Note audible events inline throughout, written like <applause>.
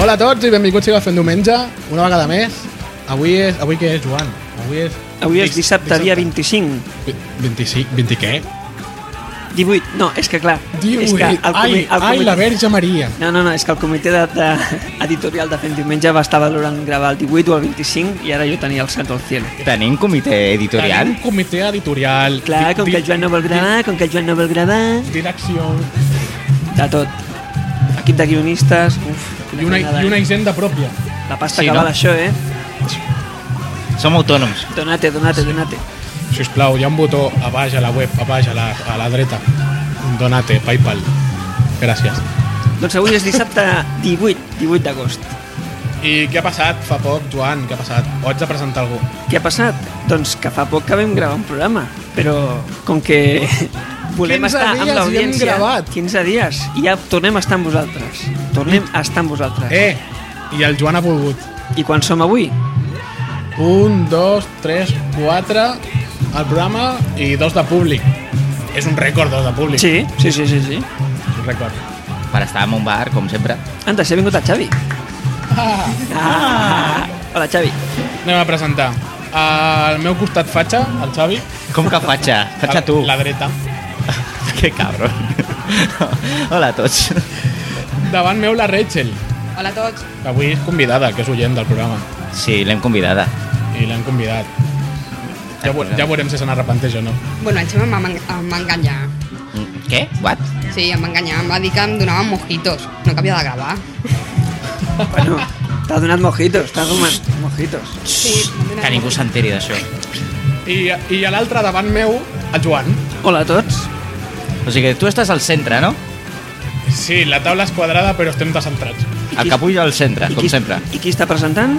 Hola a tots i benvinguts a fer un diumenge, una vegada més. Avui és... Avui què és, Joan? Avui és... Avui és dissabte, dia 25. Vi- 25... 20 què? 18, no, és que clar... és 18... que el eh, ai, comi- el ai, comitè- la Verge Maria. No, no, no, és que el comitè de, de, editorial de Fent Diumenge va estar valorant gravar el 18 o el 25 i ara jo tenia el santo al cielo. Tenim comitè editorial? Tenim un comitè editorial. Clar, di- com di- que el Joan no vol gravar, com que el Joan no vol gravar... di- Direcció. De tot. Equip de guionistes... Uf, quina I una, feinada, I una eh? hisenda pròpia. La pasta Sí, que no? val això, eh? Som autònoms. Donate, donate, donate. Si us plau, hi ha un botó a baix a la web, a baix a la, a la dreta. Donate, Paypal. Gràcies. Doncs avui és dissabte 18, 18 d'agost. I què ha passat fa poc, Joan? Què ha passat? O haig de presentar algú? Què ha passat? Doncs que fa poc que vam gravar un programa, però com <laughs> que volem 15 estar dies i amb hem l'audiència... gravat. 15 dies i ja tornem a estar amb vosaltres. Tornem a estar amb vosaltres. Eh! I el Joan ha volgut. I quan som avui? Un, dos, tres, quatre al programa i dos de públic. És un rècord, dos de públic. Sí, sí, sí, sí. sí. És un rècord. Per estar en un bar, com sempre. Anda, s'ha vingut el Xavi. Ah, Ah! Hola, Xavi. anem a presentar. Al meu costat fatxa, el Xavi. Com que faig? Faig a A- tu. La dreta. Que cabron. Hola a tots. Davant meu la Rachel. Hola a tots. que Avui és convidada, que és oient del programa. Sí, l'hem convidada. I l'han convidat. Ja, veu- ja veurem si se n'arrepenteix o no. Bueno, el Xema em va man- em va enganyar. Mm, Què? What? Sí, em va enganyar. Em va dir que em donaven mojitos. No cabia de gravar. Bueno, t'ha donat mojitos, t'ha donat mojitos. Sí, Que ningú s'enteri d'això. I, i a l'altre davant meu, el Joan. Hola a tots. O sigui, tu estàs al centre, no? Sí, la taula és quadrada, però estem descentrats. El capull al centre, I com qui- sempre. I qui està presentant?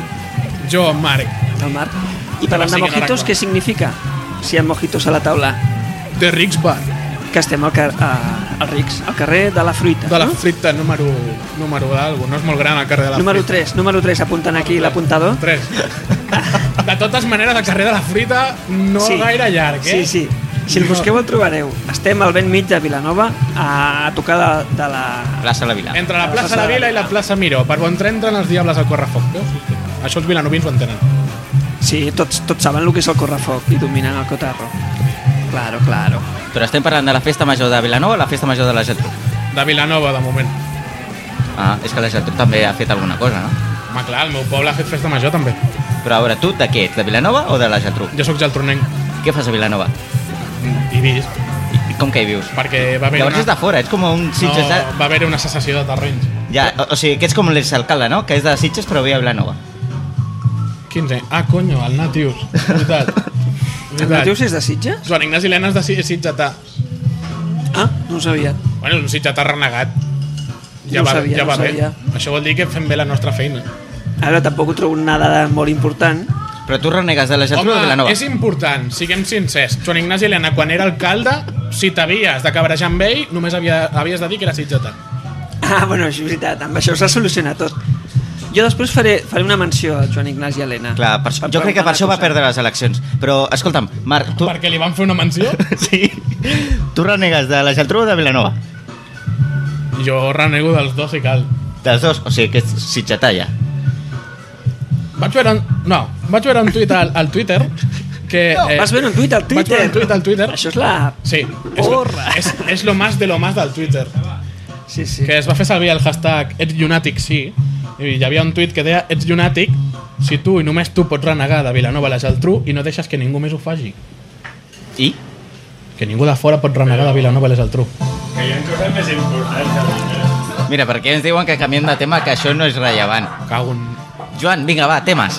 Jo, Marc, El Marc. Ara sí I parlant de que n'arranca. mojitos, què significa? Si hi ha mojitos a la taula, de Rics Bar, que estem al, car a, al Rics, al carrer de la Fruita. de la no? frita número, número d'algo. No és molt gran el carrer de la Número frita. 3, número 3, apuntant aquí l'apuntador. 3. De totes maneres, el carrer de la frita no sí. gaire llarg, eh? Sí, sí. Si el busqueu el trobareu. Estem al ben mig de Vilanova, a tocar de, de la... Plaça la Vila. Entre la plaça de la Vila i la plaça Miró. Per bon tren entren els diables al correfoc. Veus? Això els vilanovins ho entenen. Sí, tots, tots saben el que és el correfoc i dominen el cotarro. Claro, claro. Però estem parlant de la festa major de Vilanova o la festa major de la Geltrú? De Vilanova, de moment. Ah, és que la Geltrú també ha fet alguna cosa, no? Home, clar, el meu poble ha fet festa major, també. Però a veure, tu de què ets? De Vilanova o de la Geltrú? Jo sóc geltronenc. mm, Què fas a Vilanova? I vist, I, i com que hi vius? perquè va haver Llavors una... ets de fora, ets com un Sitges de... no, va haver una cessació de terrenys. Ja, o, o sigui, que ets com l'exalcalde, no? Que és de Sitges però ve a Vilanova. 15. Ah, conyo, el Natius. Veritat. <laughs> El Matius és de Sitges? Joan Ignasi Lena és de Si- Sitgetà. Ah, no ho sabia. Bueno, un Sitgetà renegat. Ja No ho va, sabia, ja no va ho bé. sabia. Això vol dir que fem bé la nostra feina. Ara tampoc ho trobo una dada molt important. <laughs> Però tu renegues de la Geltrú o de Vilanova? és important, siguem sincers. Joan Ignasi Lena, quan era alcalde, si t'havies de cabrejar amb ell, només havia, havies de dir que era Sitgetà. Ah, bueno, això és veritat, amb això s'ha solucionat tot. Jo després faré, faré una menció a Joan Ignasi Helena. Clar, per, això- jo crec que per això va perdre les eleccions. Però, escolta'm, Marc, Tu... tu... Perquè li van fer una menció? <laughs> Sí. Tu renegues de la Geltrú o de Vilanova? jo renego dels dos i cal. Dels dos, o sigui que ets Sitgetà ja. Vaig veure un... No, vaig veure un tuit al, al Twitter que... Eh, Vas veure un tuit al Twitter? Vaig veure un tuit al Twitter. Això és la... Sí, és, lo- Porra! és, és lo más de lo más del Twitter. Sí, sí. Que es va fer servir el hashtag ets llunàtic, sí. I hi havia un tuit que deia ets llunàtic si tu i només tu pots renegar de Vilanova a la Geltrú i no deixes que ningú més ho faci. I? Que ningú de fora pot renegar de Vilanova a la Geltrú. Que hi ha coses més importants. eh? Mira, perquè ens diuen que canviem de tema, que això no és rellevant. Cago en... Joan, vinga, va, temes.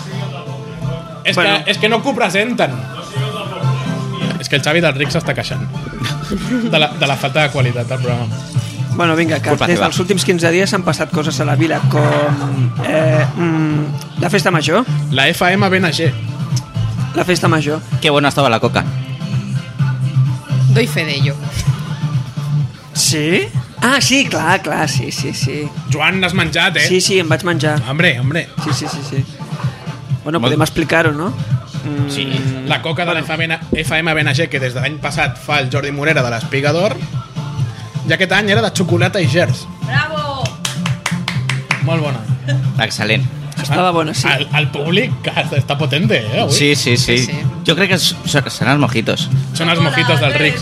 És, Bueno. que, és que no que ho presenten. És que el Xavi del Ric s'està queixant. De la, de la falta de qualitat del programa. Bueno, vinga, que Culpa des teva. dels últims 15 dies han passat coses a la vila, com eh, mm, la festa major, La FM BNG. la festa major. Que bona estava la coca. Doy fe de ello. Sí? Ah, sí, clar, clar, sí, sí, sí. Joan, n'has menjat, eh? Sí, sí, em vaig menjar. Hombre, hombre. Sí, sí, sí, sí. Bueno, Molt- podem explicar-ho, no? Mm, Sí. La coca de la FM, FM BNG que des de l'any passat fa el Jordi Morera de l'Espiga d'Or ja aquest any era de xocolata i gers Bravo! Molt bona. Excel·lent. Estava bona, sí. El, el públic que està potente, eh, avui. Sí, sí, sí. Sí, sí. Jo crec que s- s- seran els mojitos. Són els mojitos del Rick.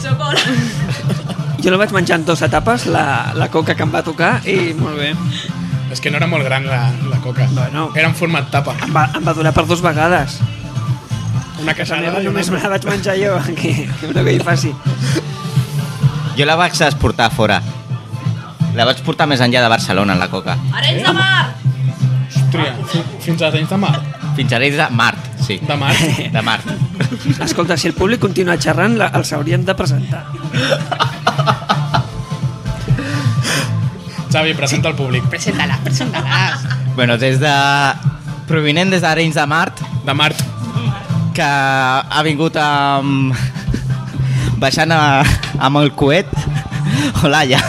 Jo la vaig menjar en dues etapes, la, la coca que em va tocar, i molt bé. És que no era molt gran la, la coca. Bueno. Era en format tapa. Em va, em va donar per dues vegades. Una La casada meva i una... només me la vaig menjar jo, <laughs> que, que no que hi faci. Jo la vaig exportar fora. La vaig portar més enllà de Barcelona, la coca. Arenys de mar! Hòstia, fi- fins als anys de mar. Fins a l'eix de Mart, sí. De <laughs> mar. De Mart. Escolta, si el públic continua xerrant, la, els hauríem de presentar. Xavi, presenta al públic. Preséntalas, preséntalas. <laughs> Bueno, des de... Provinent des d'Arenys de Mart, De Mart. que ha vingut amb... <laughs> baixant a... amb el coet. <laughs> Hola, ja.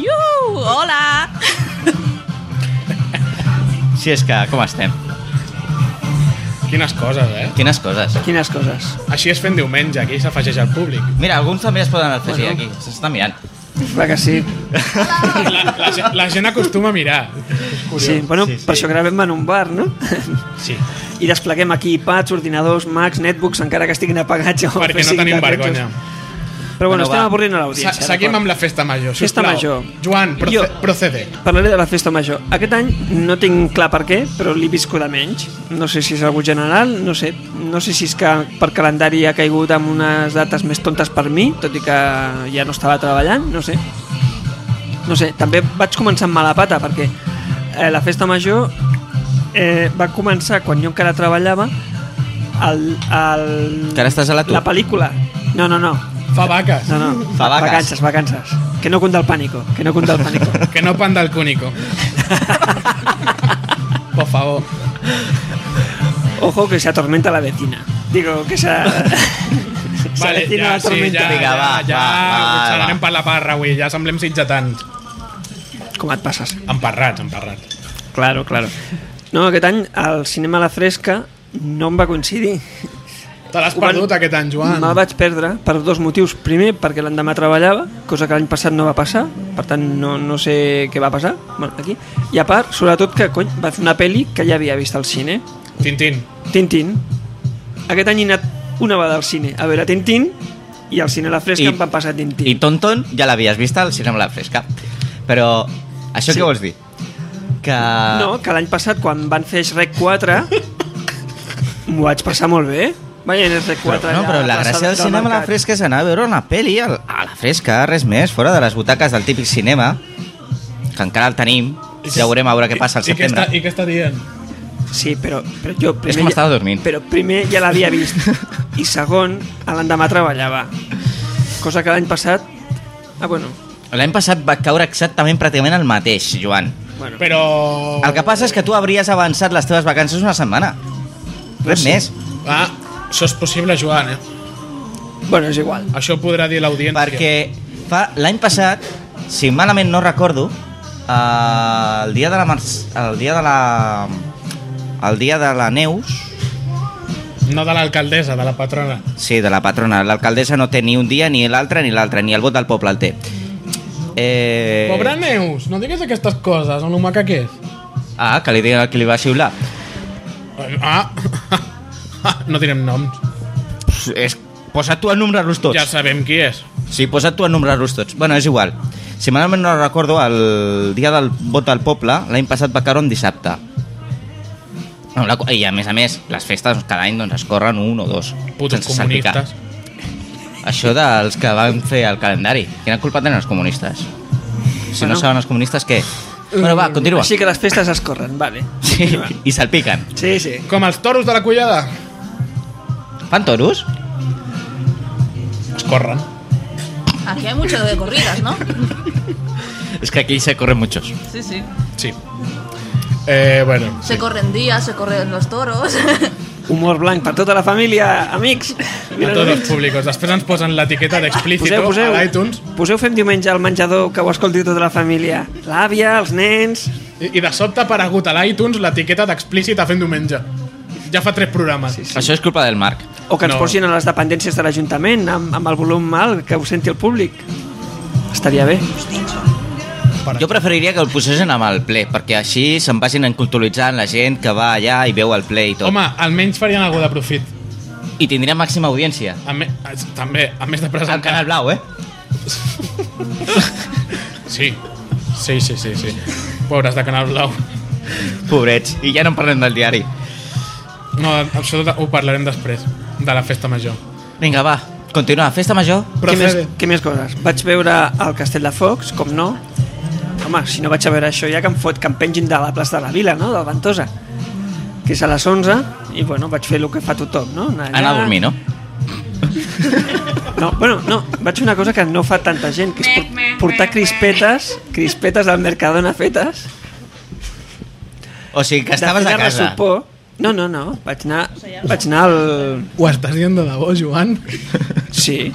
Iuhu, hola! Si és que, com estem? Quines coses, eh? Quines coses. Quines coses. Així es fent diumenge, aquí s'afegeix al públic. Mira, alguns també es poden afegir Bueno. aquí. S'està mirant. Va que sí. <laughs> La, la, gent- la gent acostuma a mirar. sí. Bueno, sí, sí. per això gravem en un bar, no? <laughs> Sí, I despleguem aquí iPads, ordinadors, Macs, netbooks, encara que estiguin apagats. o perquè no fessin tenim carretxos. vergonya. Però bueno, Bueno, estem va. avorrint a Se, l'audiència. seguim d'acord? amb la festa major, sisplau. Festa major. Joan, proce Jo. procede. Parlaré de la festa major. Aquest any no tinc clar per què, però l'hi visco de menys. No sé si és algú general, no sé. No sé si és que per calendari ha caigut amb unes dates més tontes per mi, tot i que ja no estava treballant, no sé. No sé, també vaig començar amb mala pata, perquè eh, la festa major eh, va començar quan jo encara treballava el, el... Que ara estàs a l'atur. La pel·lícula. No, no, no. Fa vaques. No, no. Fa vaques. Vacances, vacances. Que no conta el pánico, que no conta el pánico. Que no panda el <laughs> cúnico. Por favor. Ojo que se atormenta la vecina. Digo, que <laughs> se... se vecina la ja, tormenta. Vinga, ja, va, ja, va, va, xalarem va. per la parra avui, ja semblem sitjatants. Com et passes? Emparrats, emparrats. Claro, claro. No, aquest any al cinema a la fresca no em va coincidir. Te l'has Ho van- perdut aquest any, Joan. Me'l vaig perdre per dos motius. Primer, perquè l'endemà treballava, cosa que l'any passat no va passar, per tant no, no sé què va passar bueno, aquí. I a part, sobretot que cony, va fer una pel·li que ja havia vist al cine, Tintín. Tintín. Aquest any he anat una vegada al cine a veure Tintín i al cine a la fresca I- em van passar Tintín. I Tonton ja l'havies vist al cinema La Fresca. Però això Sí. sí. què vols dir? Que... No, que l'any passat, quan van fer Shrek 4, m'ho vaig passar molt bé. Vaig anar a Shrek 4 Però, no, allà però a la gràcia del plaça cinema a la mercat. fresca és anar a veure una pel·li al- a la fresca, res més, fora de les butaques del típic cinema, que encara el tenim, ja veurem a veure què passa al I, i, què està, setembre. I què està dient? Sí, però, però jo primer... que m'estava ja- dormint. Però primer ja l'havia vist. I segon, a l'endemà treballava. Cosa que l'any passat... Ah, bueno. L'any passat va caure exactament pràcticament el mateix, Joan. bueno. Però... El que passa és que tu hauries avançat les teves vacances una setmana. Res més. Ah, això és possible, Joan, eh? Bueno, és igual. Això ho podrà dir l'audiència. Perquè fa l'any passat, si malament no recordo, eh, el dia de la Mars, el dia de la el dia de la Neus, No de l'alcaldessa, de la patrona. sí, de la patrona, l'alcaldessa no té ni un dia ni l'altre ni l'altre, ni el vot del poble el té. Eh... Pobra Neus, no digues aquestes coses, on maca que és. Ah, que li digui que li va xiular. Ah, no direm noms. Pss, És... Posa't tu a nombrar-los tots. Ja sabem qui és. Sí, posa't tu a nombrar-los tots. Bueno, és igual. Si malament no recordo, el dia del vot del poble, l'any passat va caure un dissabte. No, la, co- I a més a més, les festes doncs, cada any doncs, es corren un o dos. Putos sense salpicar. comunistes. Això dels que van fer el calendari. Quina culpa tenen els comunistes? Si Bueno. no saben els comunistes, què? Bueno, va, continua. Així que les festes es corren, vale. Sí, <laughs> i salpiquen. Sí, sí. Com els toros de la collada. Fan toros? Es corren. Aquí hay mucho de corridas, ¿no? És que aquí se corren muchos. Sí, sí. Sí. Eh, bueno. Se corren días, se corren los toros. Humor blanc per tota la família, amics. A tots els públics. Després ens posen l'etiqueta d'explícito Poseu, poseu, a l'iTunes poseu fem diumenge al menjador que ho escolti tota la família. L'àvia, els nens... i, i de sobte ha aparegut a l'iTunes l'etiqueta d'explícit a fent diumenge. Ja fa tres programes. Sí, Sí. Això és culpa del Marc. O que ens No. no. posin a les dependències de l'Ajuntament amb, amb el volum mal que ho senti el públic. Estaria bé. para Jo preferiria que el posessin amb el ple, perquè així se'n vagin enculturitzant la gent que va allà i veu el ple i tot. Home, almenys farien alguna de profit. I tindria màxima audiència. A me... eh, També, a més de presentar... Al Canal Blau, eh? Sí. Sí, sí, sí, sí. Pobres de Canal Blau. Pobrets. I ja no en parlem del diari. No, això ho parlarem després, de la festa major. Vinga, va. Continua. Festa major. Què més, Procede. què més coses? Vaig veure el Castell de Fox, com no. Home, si no vaig a veure això ja que em fot que em pengin de la plaça de la Vila, no? Del Ventosa. Que és a les 11 i bueno, vaig fer el que fa tothom, no? Anar, allà. Anar a dormir, no? No, bueno, no, vaig fer una cosa que no fa tanta gent, que és por- portar crispetes, crispetes del Mercadona fetes. O sigui, que estaves fer a de casa. Ressopó. No, no, no, vaig anar, vaig anar al... Ho estàs dient de debò, Joan? Sí,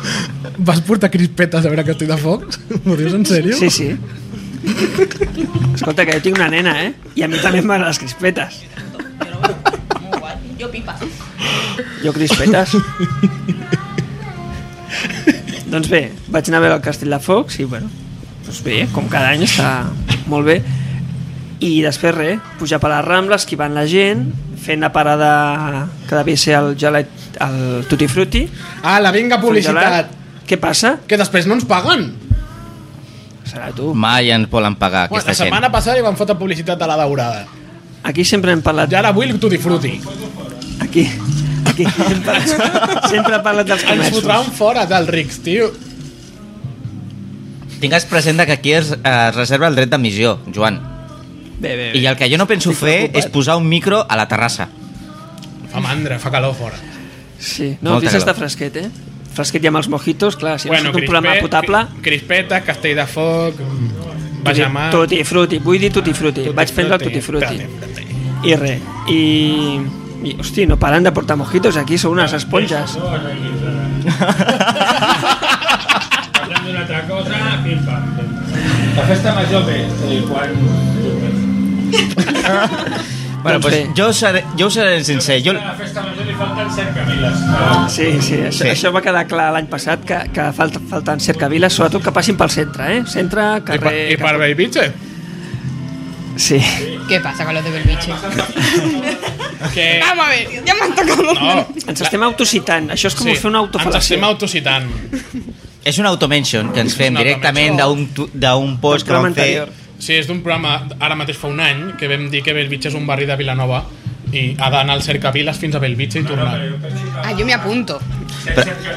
Vas portar crispetes a veure que estic de foc? <laughs> M'ho dius en sèrio? sí, sí. Escolta, que jo tinc una nena, eh? I a mi també m'agraden les crispetes. Muy guay. Yo pipa. Jo crispetes. doncs bé, vaig anar a veure el Castell de Fox i bueno, doncs bé, com cada any està molt bé. I després res, pujar per les Rambles, esquivant la gent, fent la parada que devia ser el gelat, el Tutti Frutti. Ah, la vinga publicitat. Gelat. Què passa? Que després no ens paguen. Serà tu. Mai ens volen pagar Bueno, aquesta la gent. setmana passada hi van fotre publicitat de la daurada. Aquí sempre hem I parlat... ara avui el Tutti Frutti. Aquí, aquí hem parlat, sempre hem parlat dels Ens comerços. fotran fora dels rics, tio. Tingues present que aquí es, eh, es reserva el dret d'emissió, Joan. Bé, bé, I el que jo no penso Estic fer preocupat. és posar un micro a la <laughs> terrassa. Fa mandra, fa calor fora. Sí, no, Molta aquí s'està calor. fresquet, eh? Fresquet ja amb els mojitos, clar, si bueno, un programa potable... crispetes, castell de foc, vaja mà... Tot i fruti, vull dir tutti frutti. Tutti Vaig prendre el tutti frutti. I res. I, i hosti, no paren de portar mojitos aquí, són unes esponges. Eso, aquí, Hablando de otra cosa, pim pam. pim. La festa major ve, eh, quan... Bueno, Doncs pues, bé. jo, seré, jo us seré sincer. Jo, A la festa major li falten set camiles. Ah, Sí, sí, això, Sí. sí. això va quedar clar l'any passat, que, que falta, falten cercaviles, sobretot que passin pel centre, eh? Centre, I per, carrer... i per Bellvitge? Sí. ¿Qué pasa con los de <laughs> Belviche? Que... Vamos a ver, ya me han tocado los No, Ah, Ens estem autocitant, això és com sí. fer una ens estem autofalació. autocitant. és una automention que ens fem una directament d'un tu- d'un Doncs post que vam fer. Sí, és d'un programa, ara mateix fa un any, que vam dir que Belvitge és un barri de Vilanova i ha d'anar al cercaviles fins a Belvitge i tornar. Ah, yo me apunto.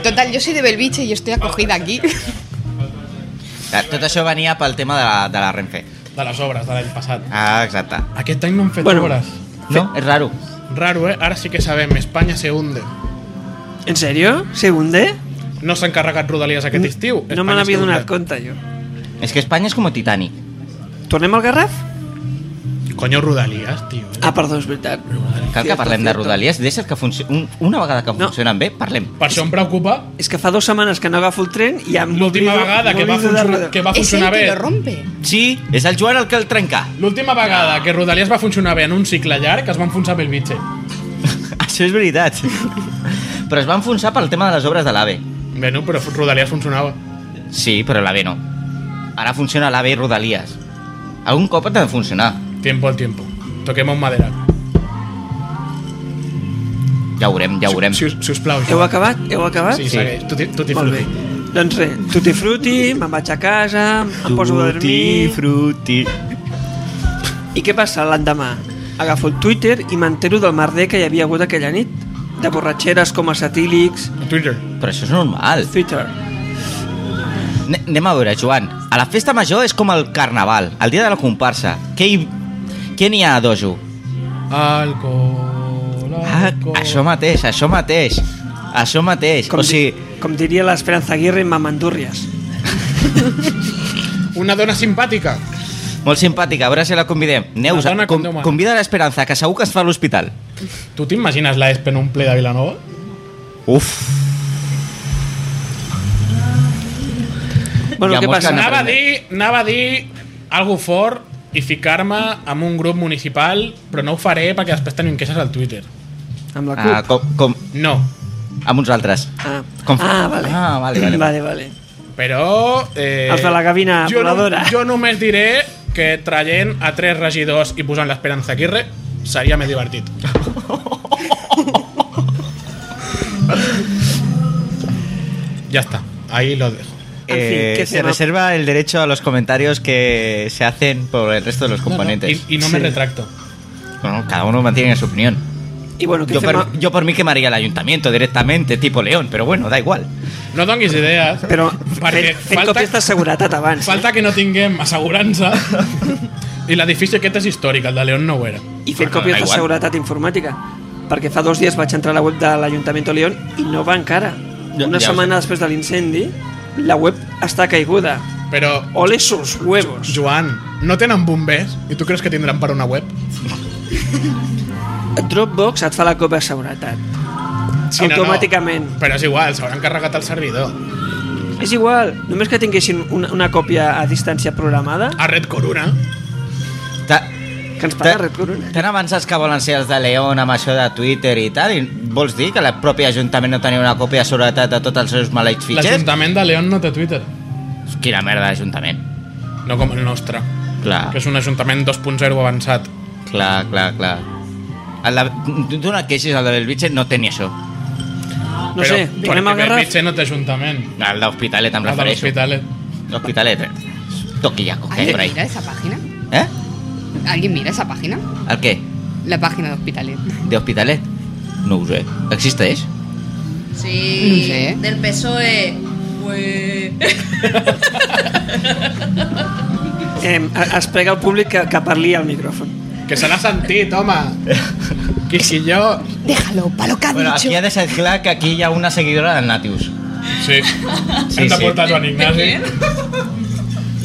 Total, yo soy de Belviche y estoy acogida aquí. Eh, Tot això venia pel tema de la, de la Renfe. De les obres de l'any passat. Ah, exacte. Aquest any no han fet Bueno. obres. No? És raro. Raro, eh? Ara sí que sabem, Espanya se hunde. En sèrio? Segunde? No s'ha encarregat Rodalies aquest estiu. No me Espanya n'havia se hunde. donat compte, jo. És que Espanya és com a Titanic. Tornem al Garraf? Coño, Rodalies, tio. eh? Ah, perdó, és veritat. Cal que Cierto, parlem de cierto. Rodalies, deixes que funci... un, una vegada que No. funcionen bé, parlem. Per això em preocupa És que fa dues setmanes que no agafo el tren i ja m'oblido- l'última vegada que va, m'oblido de Eh, funcionar, rodar. que va Es el funcionar que lo bé. rompe. Sí, és el Joan el que el trenca. L'última vegada que Rodalies va funcionar bé en un cicle llarg es va enfonsar eh? Belvitge. <laughs> Això és veritat. però es va enfonsar pel tema de les obres de l'AVE. Bueno, però Rodalies funcionava. Sí, però l'AVE no. Ara funciona l'AVE i Rodalies. Algun cop ha de funcionar. Tiempo al tiempo. Toquemos madera. Ja ho veurem, ja ho veurem. Si, us- si us plau, Heu acabat? Heu acabat? Sí, segueix. Tu, tu t'hi Molt bé. Doncs res, tutti frutti, me'n vaig a casa, em poso a dormir... fruti. I què passa l'endemà? Agafo el Twitter i m'entero del merder que hi havia hagut aquella nit. De borratxeres com a satílics... Twitter. Però això és normal. Twitter. Ne- Anem a veure, Joan. A la festa major és com el carnaval, el dia de la comparsa. Què hi... Què n'hi ha a dojo? Alcohol, Ah, alcohol. això mateix, això mateix. Això mateix. Com, o sigui, di com diria l'Esperanza Aguirre, mamandúrries. Una dona simpàtica. molt simpàtica, a veure si la convidem. Neus, dona com com, Déu mana. convida l'Esperanza, que segur que es fa a l'hospital. Tu t'imagines la ESP en un ple de Vilanova? Uf. Hi Bueno, ha què molts passa? que no- Anava a dir, anava a dir algo fort i ficar-me en un grup municipal, però no ho faré perquè després tenim queixes al Twitter. Amb la CUP. Ah, com, com No, amb uns altres. Ah, Com- ah, vale. Ah, vale, vale, vale, vale. Però... Eh, Els de la gavina jo, no, voladora. jo només diré que traient a tres regidors i posant l'Esperanza Aguirre seria més <laughs> divertit. ya está. Ahí lo dejo. En fin, Eh, ¿qué se tema? reserva el derecho a los comentarios que se hacen por el resto de los componentes. Y, y no me retracto. Bueno, cada uno mantiene su opinión. Y bueno, ¿qué Yo tema? por, yo por mí quemaría el ayuntamiento directamente, tipo León, pero bueno, da igual. No donguis idees. <laughs> Però perquè fent, fent falta- falta... copies de seguretat abans. eh? Falta... Falta que no tinguem assegurança. I l'edifici aquest és històric, el de León no ho era. I fent Bueno, da còpies de Ah, igual. seguretat informàtica. Perquè fa dos dies vaig entrar a la web de l'Ajuntament de León i no va encara. Ja- Una ja ho setmana després de l'incendi, la web està caiguda. Però, Ole sus huevos. Joan, no tenen bombers i tu creus que tindran per una web? Dropbox et fa la còpia de seguretat. Si no, no. Automàticament. Però és igual, s'hauran carregat el servidor. És igual, només que tinguessin una, una còpia a distància programada, A Red Corona. Ta- que ens paga Red eh? Corona. Tan avançats que volen ser els de León amb això de Twitter i tal, i vols dir que la pròpia Ajuntament no tenia una còpia de seguretat de tots els seus maleïts fitxers? L'Ajuntament de León no té Twitter. Quina merda d'Ajuntament. No com el nostre, Clar, que és un ajuntament 2.0 avançat. clar, clar, clar. El de, tu no et queixis, el de Belvitge no tenia això. No sé, perquè anem a Garraf? Belvitge no té ajuntament. El d'Hospitalet em El de refereixo. l'Hospitalet. L'Hospitalet. Toquillaco, que hay ¿Alguien por ahí. mira esa página? Eh? ¿Alguien mira esa página? El què? La página de Hospitalet. De Hospitalet? No ho sé. Existeix? Sí, No sé. del PSOE. Ué. Eh, es prega al públic que, que parli al micròfon. Que se l'ha sentit, home! <laughs> Quisilló. Déjalo, palo que ha Bueno, dicho. aquí ha de ser clar que aquí hi ha una seguidora del Natius. Sí. Sí, Hem de sí. portar Joan Ignasi.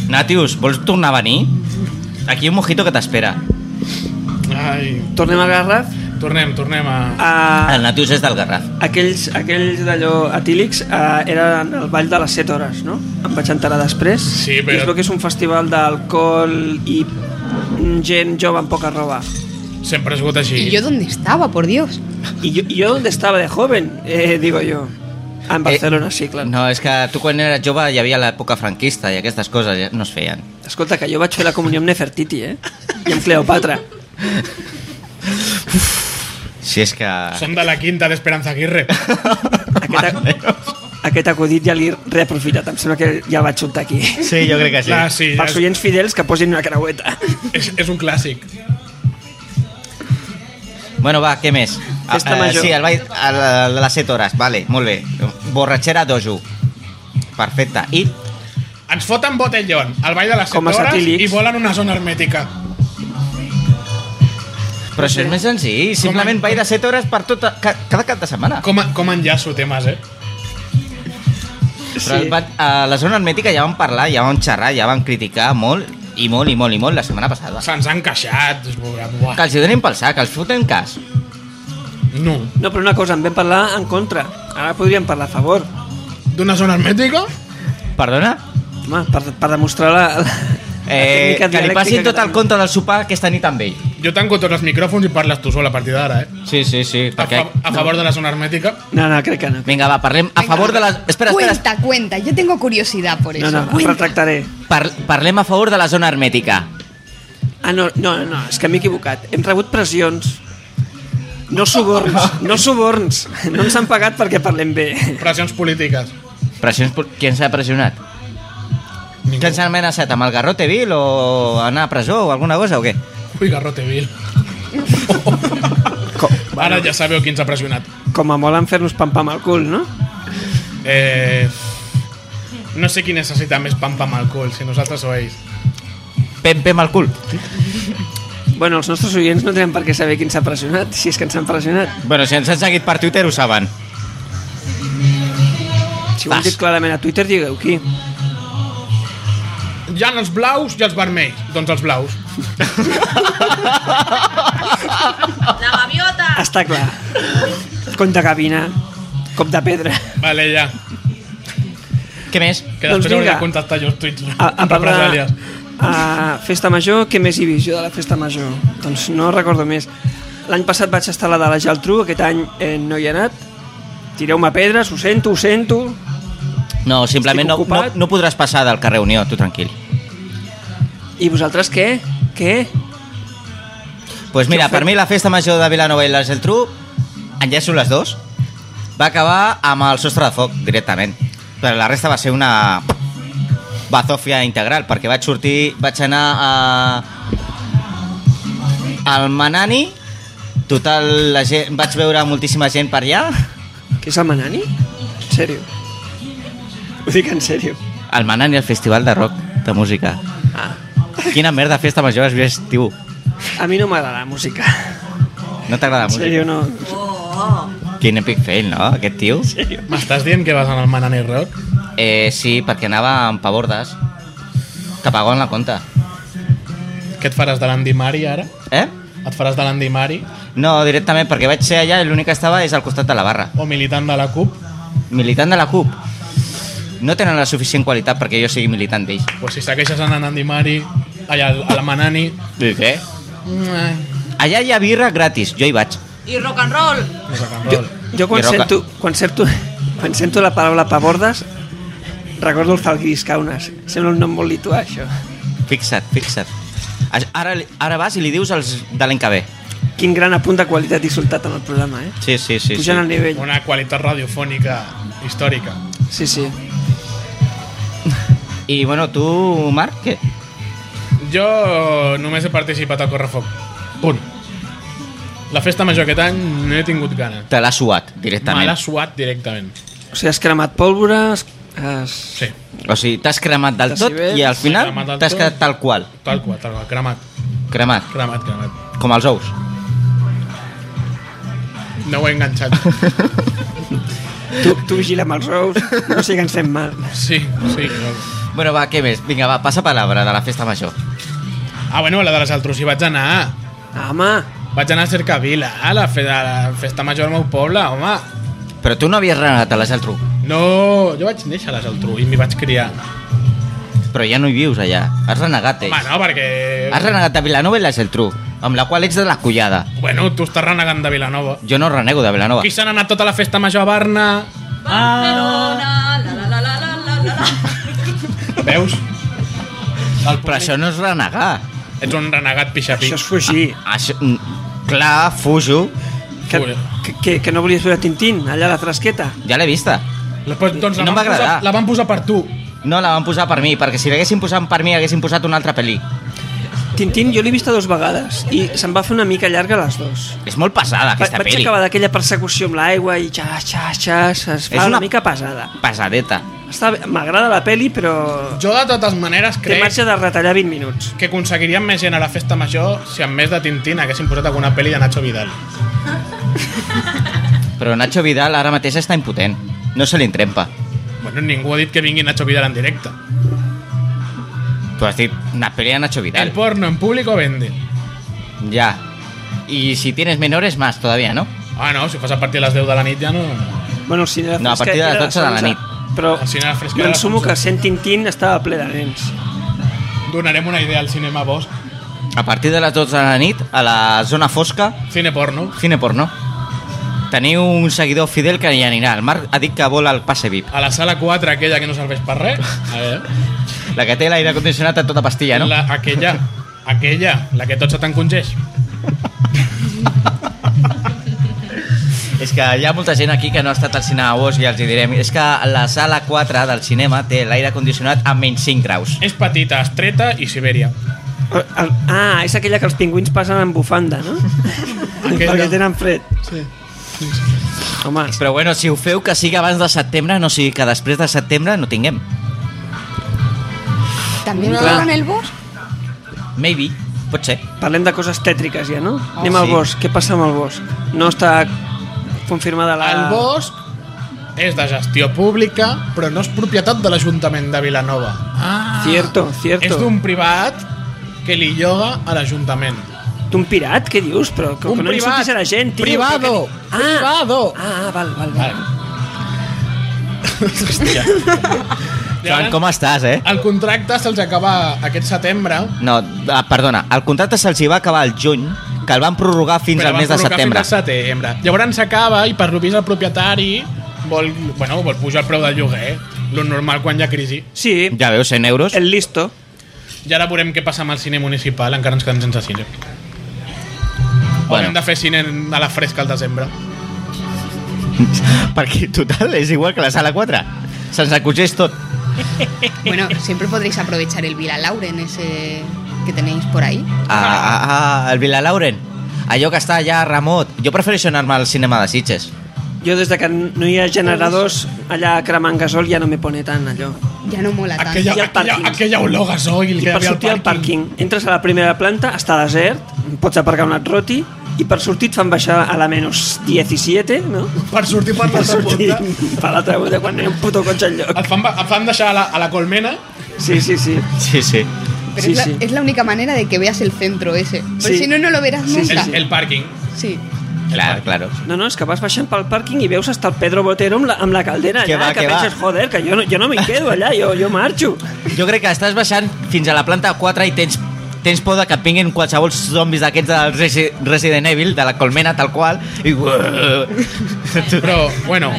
Natius, vols tornar a venir? Aquí hi ha un mojito que t'espera. Ai. Tornem a Garraf. Tornem, tornem a... A... El Natius és del Garraf. Aquells, aquells d'allò etílics eh, eren el ball de les 7 hores, no? Em vaig enterar després. Sí, però- I es veu que és un festival d'alcohol i gent jove amb poca roba. Sempre ha sigut així. ¿Y yo dónde estaba, por Dios? I jo, i jo on estava de joven, eh, digo jo. En Barcelona, sí, clar. Eh, No, és que tu quan eres jove hi havia l'època franquista i aquestes coses ja no es feien. Escolta, que jo vaig fer la comunió amb Nefertiti, eh? I amb Cleopatra. Si és que... <laughs> Som de la quinta d'Esperanza Aguirre. Ah, Aquest, ac- aquest acudit ja l'he reaprofitat. Em sembla que ja el vaig soltar aquí. Sí, jo crec que Sí. Clar, sí, Pels és, oients fidels que posin una creueta. és, és un clàssic. Bueno, va, què més? Festa Ah, eh, major. sí, el ball a la- de les 7 hores, vale, molt bé. Borratxera dojo. Perfecte. I Ens foten botellón al ball de les Com a 7 hores satírics. i volen una zona hermètica. Però això és més senzill, simplement vaig de 7 hores per tota, ca, cada cap de setmana. Com, a- com enllaço temes, eh? Però va, a la zona hermètica ja vam parlar, ja vam xerrar, ja vam criticar molt, i molt, i molt, i molt, la setmana passada. Se'ns han queixat. es veurà, buah. Que els hi donin pel sac, els foten cas. No. No, però una cosa, en vam parlar en contra. Ara podríem parlar a favor. D'una zona hermètica? Perdona? Home, per, per demostrar la, la, la Eh, tècnica que li dialèctica passin tot el tenen. compte del sopar aquesta nit amb ell. Jo tanco tots els micròfons i parles tu sol a partir d'ara, eh? Sí, sí, sí. A, Perquè... fa a favor de la zona hermètica. No, no, crec que no. Vinga, va, parlem a favor de la... Espera, espera, espera. Cuenta, cuenta. Yo tengo curiosidad por No, eso. no, em Cuenta. retractaré. Par parlem a favor de la zona hermètica. Ah, no, no, no, és que m'he equivocat. Hem rebut pressions. No suborns, no suborns. No ens han pagat perquè parlem bé. Pressions polítiques. Pressions... pol- Qui ens ha pressionat? Ningú. Què ens han amenaçat? Amb el garrote vil o anar a presó o alguna cosa o què? Ui, Garroteville. Com, Ara ja sabeu qui ens ha pressionat. com a molt en fer-nos pam-pam al cul, no? Eh, no sé qui necessita més pam pam al cul, si nosaltres o ells. Pem, pem al cul. Bueno, els nostres oients no tenen per què saber qui ens ha pressionat, si és que ens han pressionat. Bueno, si ens han seguit per Twitter ho saben. Si ho han dit clarament a Twitter, digueu qui. Hi ha els blaus i els vermells. Doncs els blaus. <laughs> La gaviota. Està clar. Cony de gavina, cop de pedra. Vale, ja. Què més? Que Doncs després hauré de vinga. contestar jo els tuits. Tota A, a parlar Represàlies. a Festa Major, què més hi vist jo de la Festa Major? Doncs no recordo més. L'any passat vaig estar a la de la Geltrú, aquest any eh, no hi he anat. Tireu-me pedres, ho sento, ho sento. No, simplement no, Estic no, ocupat. no podràs passar del carrer Unió, tu tranquil. I vosaltres què? Què? Doncs pues mira, per mi la festa major de Vilanova i la Geltrú, enllaço les dues, va acabar amb el sostre de foc directament. Però la resta va ser una bazofia integral, perquè vaig sortir, vaig anar a... al Manani, total, la gent, vaig veure moltíssima gent per allà, Què és el Manani? En sèrio. Ho dic en sèrio. al Manani, al Festival de Rock de Música. Ah. Quina merda festa major es viu estiu. A mi no m'agrada la música. No t'agrada la En sèrio, música? no. Quin epic fail, no, aquest tio? M'estàs dient que vas anar al Manani Rock? Eh, sí, perquè anava amb pavordes que pagaven la compta. Què et faràs de l'Andy Mari ara? Eh? Et faràs de l'Andy Mari No, directament, perquè vaig ser allà i l'únic que estava és al costat de la barra. o militant de la CUP? Militant de la CUP. No tenen la suficient qualitat perquè jo sigui militant d'ells. Pues si segueixes anant a Andy Mari, allà al, al Manani... Dic, eh? Allà hi ha birra gratis, jo hi vaig. Y rock and roll. No sé, jo... Jo quan I roca. sento, quan, sento, quan sento la paraula pavordes, recordo el Zalgiris Kaunas. Sembla un nom molt lituà, això. Fixa't, fixa't. As- Ara, li- ara vas i li dius als de l'any que ve. Quin gran apunt de qualitat i soltat en el programa, eh? Sí, sí, sí. sí. Pujant al nivell. Una qualitat radiofònica històrica. Sí, sí. I bueno, tu, Marc, què? Jo només he participat al Correfoc. Punt. La festa major aquest any no he tingut gana. Te l'ha suat Me directament. l'ha suat directament. O sigui, has cremat pólvora, has... has... Sí, O sigui, t'has cremat del T'has tot civet, i al final cremat del t'has tot. quedat tal qual. tal qual, tal qual. Cremat, Cremat, cremat, cremat. com els ous. No ho he <laughs> enganxat. Tu, tu vigila amb els ous, no sé que ens fem mal. Sí, sí. No. Bueno, va, què més? Vinga, va, passa palabra de la festa major. Ah, bueno, la de les altres hi vaig anar. Ah, home, Vaig anar a Cercavila, a la, fe, a la festa major del meu poble, home. Però tu no havies renat a la Geltrú, No, jo vaig néixer a les Altru i m'hi vaig criar. però ja no hi vius allà. Has renegat, eh? Home, no, perquè... Has renegat a Vilanova i la Geltrú, amb la qual ets de la collada. Bueno, tu estàs renegant de Vilanova. Jo no renego de Vilanova. Qui s'han anat tota la festa major a Barna? Ah. Barcelona, la la la la la la la. Ah. Veus? Però això no és renegar. Ets un renegat pixapí. això és fugir. Això... mm, Clar, fujo. Que, que, que, que no volies veure Tintín, allà a la frasqueta. Ja l'he vista. La, pues, doncs la No em va van posar- agradar. La van posar per tu. No, la van posar per mi, perquè si l'haguessin posat per mi haguessin posat una altra pel·li. Tintín jo l'he vista dues vegades i se'n va fer una mica llarga les dues. És molt Va, pesada, aquesta vaig pel·li. acabar d'aquella persecució amb l'aigua i xa, xa, xa, es fa És una... una- una mica pesada. Pesadeta. Està bé, M'agrada la peli, però Jo, de totes maneres, té crec marge de retallar 20 minuts. que aconseguiríem més gent a la festa major si en més de Tintín haguessin posat alguna pel·li de Nacho Vidal. Però Nacho Vidal ara mateix està impotent. No se li entrempa. Bueno, ningú ha dit que vingui Nacho Vidal en directe. Tu has dit una pel·li de Nacho Vidal. El porno en público vende. Ya. Y si tienes menores, más todavía, ¿no? Ah, no, si fas a partir de les 10 de la nit ja no... Bueno, el cine de No, a fresca partir de era les 12 de la 11, nit. Però El cine de fresca Ah, era a les m'ensumo 11. que sent Tintín estava ple de nens. Donarem una idea al cinema Bosch. A partir de les 12 de la nit, a la zona fosca, Cine porno. cine porno. Teniu un seguidor fidel que hi anirà. El Marc ha dit que vol el passe VIP. A la sala 4, aquella que no serveix per res. A veure... La que té l'aire condicionat a tota pastilla, no? La, aquella, aquella, la que tot se t'encongeix. És que hi ha molta gent aquí que no ha estat al cinema vos i els hi direm. És que la sala 4 del cinema té l'aire condicionat a menys 5 graus. És petita, estreta i Sibèria. El, el, ah, és aquella que els pingüins passen en bufanda, <laughs> no? Aquella. Perquè tenen fred. Sí. Home, Però bueno, si ho feu que sigui abans de setembre, no sigui que després de setembre no tinguem. ¿También lo Claro. en el bosque? Maybe, pot ser. parlem de coses tètriques ja, no? Ah, Anem al sí. bosc. Què passa amb el bosc? No està confirmada la... El bosc és de gestió pública, però no és propietat de l'Ajuntament de Vilanova. Ah, Cierto, cierto. És d'un privat que li lloga a l'Ajuntament. D'un pirat? Què dius? Però que, Un que no privat. insultis a la gent, tio. Privado. Que- Ah, Privado. Ah, ah, val, val, val. Vale. Hòstia. Joan, com estàs, eh? El contracte se'ls acaba aquest setembre, No, ah, perdona, el contracte se'ls hi va acabar al juny, que el van prorrogar fins Però al van mes de prorrogar setembre. Fins a setembre. Llavors s'acaba i per lo vist el propietari vol, bueno, vol pujar el preu del lloguer. eh? lo normal quan hi ha crisi. Sí, Ja veus, 100 euros. el listo. I ara veurem què passa amb el cine municipal, encara ens quedem sense cine. Bueno. Bueno. Haurem de fer cine a la fresca al desembre. Perquè, total, és igual que la sala 4. Se'ns acogeix tot. Bueno, siempre podréis aprovechar el Vila Lauren ese que tenéis por ahí. Ah, ah, ah, el Vilalauren. Allò que està allà a remot. Jo prefereixo anar-me al cinema de Sitges. Jo des de que no hi ha generadors allà cremant gasol ja no me pone tant allò. Ya no mola tanto. Aquella, I el aquella, pàrquing. aquella olor a gasoil que I hi per havia al sortir al pàrquing. pàrquing, entres a la primera planta, està desert, pots aparcar un et roti, i per sortir et fan baixar a la menys 17, <laughs> no? Per sortir per Per l'altra sortir punta. per l'altra punta quan hi ha un puto cotxe enlloc. Et fan, ba- et fan deixar a la, a la colmena Sí, sí, sí. Sí, sí. Pero Sí, es, la, sí. es la única manera de que veas el centro ese. Pues Sí. si no, no lo verás Sí, sí, nunca. el, el pàrquing. Sí. Clar, claro. No, no, és que vas baixant pel pàrquing i veus estar el Pedro Botero amb la, amb la caldera allà, Que que, va, que va. penses, joder, que jo no, jo no m'hi quedo allà, jo, jo marxo. Jo crec que estàs baixant fins a la planta 4 i tens, tens por de que et vinguin qualsevol zombis d'aquests del Resi- Resident Evil, de la colmena tal qual, i... uh, Però, bueno,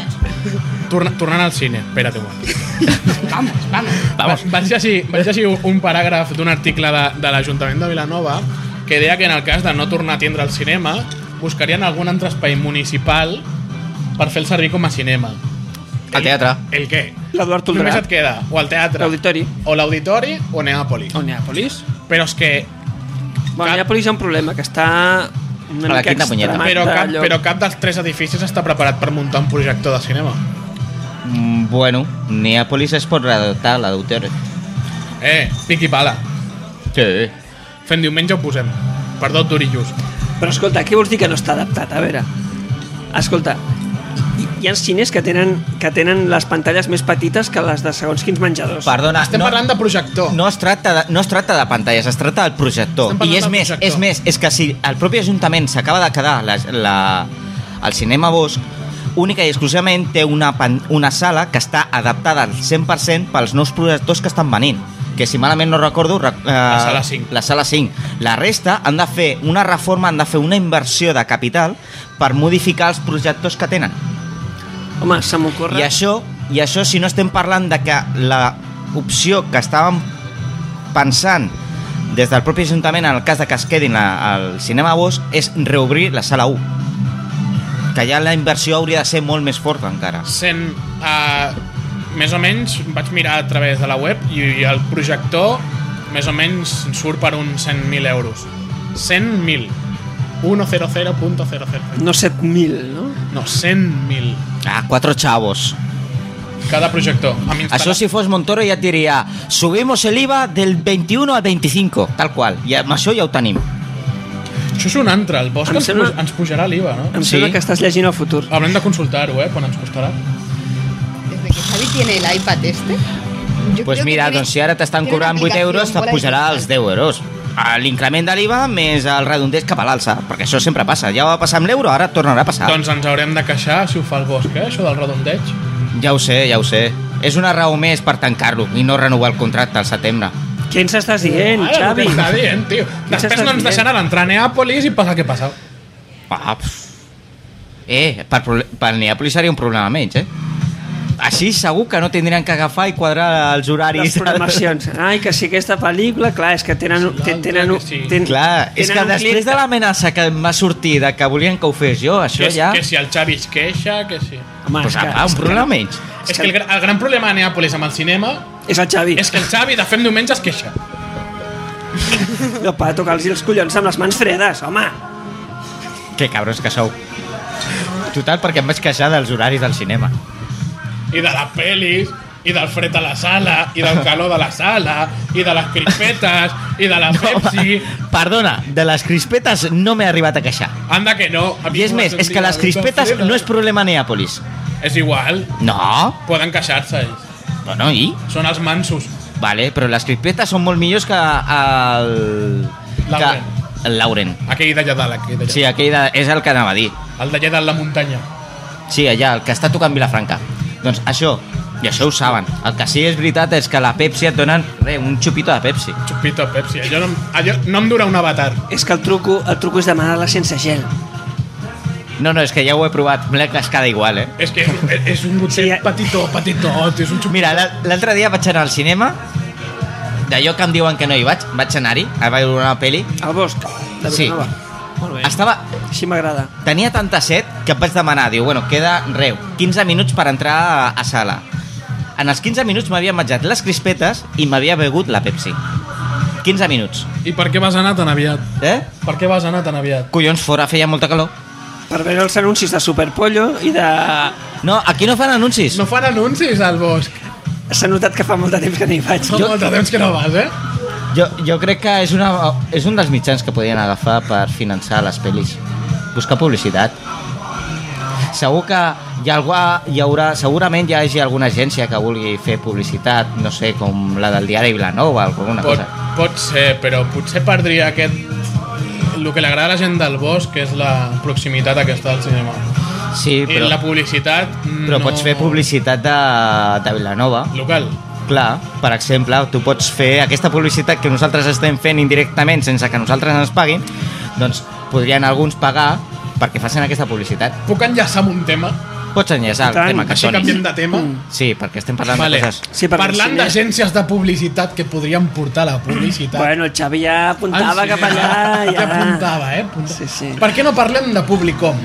torna, tornant al cine. Espera't un moment. Vamos, vamos. Vamos. Va- Vaig llegir, vaig llegir un- un paràgraf d'un article de, de l'Ajuntament de Vilanova que deia que en el cas de no tornar a tindre el cinema buscarien algun altre espai municipal per fer el servir com a cinema. Al teatre. El què? L'Eduard Només et Toldrat, queda o el teatre, l'auditori. o l'auditori o Neàpolis. O Neàpolis. Però és que Bueno, Cap- Neàpolis hi ha un problema, que està A una la mica quinta punyeta. extremat però cap, d'allò. però cap dels tres edificis està preparat per muntar un projector de cinema. Mm, bueno, Neàpolis es pot redactar a l'auditori. Eh, pic i pala. Sí. Fem diumenge ho posem. Perdó, Dorillos. Però escolta, què vols dir que no està adaptat? A veure, escolta, hi, hi ha cines que tenen, que tenen les pantalles més petites que les de segons quins menjadors. Perdona, Estem no, parlant de projector. no es, tracta de, no es tracta de pantalles, es tracta del projector. Estem parlant I és del més, projector. és més, és que si el propi Ajuntament s'acaba de quedar la, la, el cinema Bosch, única i exclusivament té una, pan, una sala que està adaptada al 100% pels nous projectors que estan venint que si malament no recordo rec- eh, la sala cinc. la sala 5 la resta han de fer una reforma han de fer una inversió de capital per modificar els projectors que tenen Home, se m'ocorre... i això, I això si no estem parlant de que la opció que estàvem pensant des del propi Ajuntament en el cas de que es quedin la- al cinema Bosch és reobrir la sala 1 que ja la inversió hauria de ser molt més forta encara sent uh, més o menys vaig mirar a través de la web i, i el projector més o menys surt per uns 100.000 euros 100.000 100.000 No 7.000, no? no, 100.000 ah, quatre chavos cada projector amb això si fos Montoro ja et diria subimos el IVA del 21 al 25 tal qual, i amb això ja ho tenim això és un altre el Bosch Em ens, sembla- puja- ens pujarà l'IVA no? Em sí. Sí. sembla que estàs llegint el futur. haurem de consultar-ho eh, quan ens costarà Desde que Xavi tiene el iPad este. Yo pues creo que mira, tiene- doncs si ara t'estan tiene una cobrant 8 aplicació euros, te por ahí. pujarà als 10 euros. A L'increment de l'IVA més el redondeix cap a l'alça, perquè això sempre passa. Ja va passar amb l'euro, ara tornarà a passar. doncs ens haurem de queixar si ho fa el Bosch eh, això del redondeig Ja ho sé, ja ho sé. És una raó més per tancar-lo i no renovar el contracte al setembre. Què ens estàs dient, Ara, el que Xavi? està dient, tio. després no ens dient? deixaran entrar a Neàpolis i passa el que passa Ah, pf. eh, per, prole- per Neàpolis seria un problema menys, eh? Així segur que no tindrien que agafar i quadrar els horaris. les programacions. Ai, que si aquesta pel·lícula, clar, és que tenen... Sí, l'altra Ten, tenen un- que sí. ten, <laughs> Clar, és tenen que un després client de l'amenaça que em va sortir de que volien que ho fes jo, això que, ja... que si el Xavi es queixa que si... Home, Pues és que- és apa, un que- problema menys. És que el, gra- el gran problema de Neàpolis amb el cinema És el Xavi. és que el Xavi de fem diumenge es queixa. No, pa, tocar-los els collons amb les mans fredes, home. Que cabrons que sou. Total, perquè em vaig queixar dels horaris del cinema. I de les pel·lis, i del fred a la sala, i del calor de la sala, i de les crispetes, i de la Pepsi... Perdona, de les crispetes no m'he arribat a queixar. Anda que no. a mi I és m'ho més, has és que sentit les a crispetes Dulce Alfreda. no és problema Neàpolis. És igual, No? poden queixar-se ells. Bueno, i? Són els mansos. Vale, però les crispetes són molt millors que el... Lauren. Que... El Lauren. Aquell d'allà dalt, aquell d'allà. Sí, aquell de... és el que anava a dir. El d'allà dalt la muntanya. Sí, allà, el que està tocant Vilafranca. Doncs això, i això ho saben. El que sí que és veritat és que la Pepsi et donen re, un xupito de Pepsi. Chupito, Pepsi. ah, Allò no, em- allò no em dura un avatar. És que el truco, el truco és demanar-la sense gel. No, no, és que ja ho he provat. Mira que es queda igual, eh? És que <laughs> és, és un gotet Sí, ja- petitó, petitot, és un xup... Mira, l'al- l'altre dia vaig anar al cinema, d'allò que em diuen que no hi vaig, vaig anar-hi, a veure una pel·li. Al bosc de Sí. Vilanova. Molt bé. Estava... Així m'agrada. Tenia tanta set que em vaig demanar, diu, bueno, queda reu, 15 minuts per entrar a, a sala. En els 15 minuts m'havia menjat les crispetes i m'havia begut la Pepsi. 15 minuts, I per què vas anar tan aviat? eh? Per què vas anar tan aviat? Collons, fora feia molta calor. Per veure els anuncis de Superpollo i de... No, aquí no fan anuncis. No fan anuncis al bosc. S'ha notat que fa molt de temps que no hi vaig. Fa Jo- molt de temps que no vas, eh? Jo, jo crec que és, una, és un dels mitjans que podien agafar per finançar les pel·lis. Buscar publicitat. Segur que hi, ha algú, hi haurà, segurament hi hagi alguna agència que vulgui fer publicitat, no sé, com la del diari Vilanova o alguna Pot, cosa. pot ser, però potser perdria aquest... El que li agrada a la gent del bosc que és la proximitat aquesta del cinema. Sí, I però, la publicitat... però no... pots fer publicitat de, de Vilanova. Local. Clar, per exemple, tu pots fer aquesta publicitat que nosaltres estem fent indirectament sense que nosaltres ens paguin, doncs podrien alguns pagar perquè facin aquesta publicitat. Puc enllaçar amb un tema? Pots I enllaçar el tant, tema que Així sonis. canviem de tema? Sí, perquè estem parlant Vale. de coses... Sí, perquè Parlant el cine- d'agències de publicitat que podrien portar la publicitat... Bueno, el Xavi ja apuntava Ah, sí, cap allà. eh? Ja. <laughs> Ja apuntava, eh? Apuntava. Sí, sí. Per què no parlem de Publicom?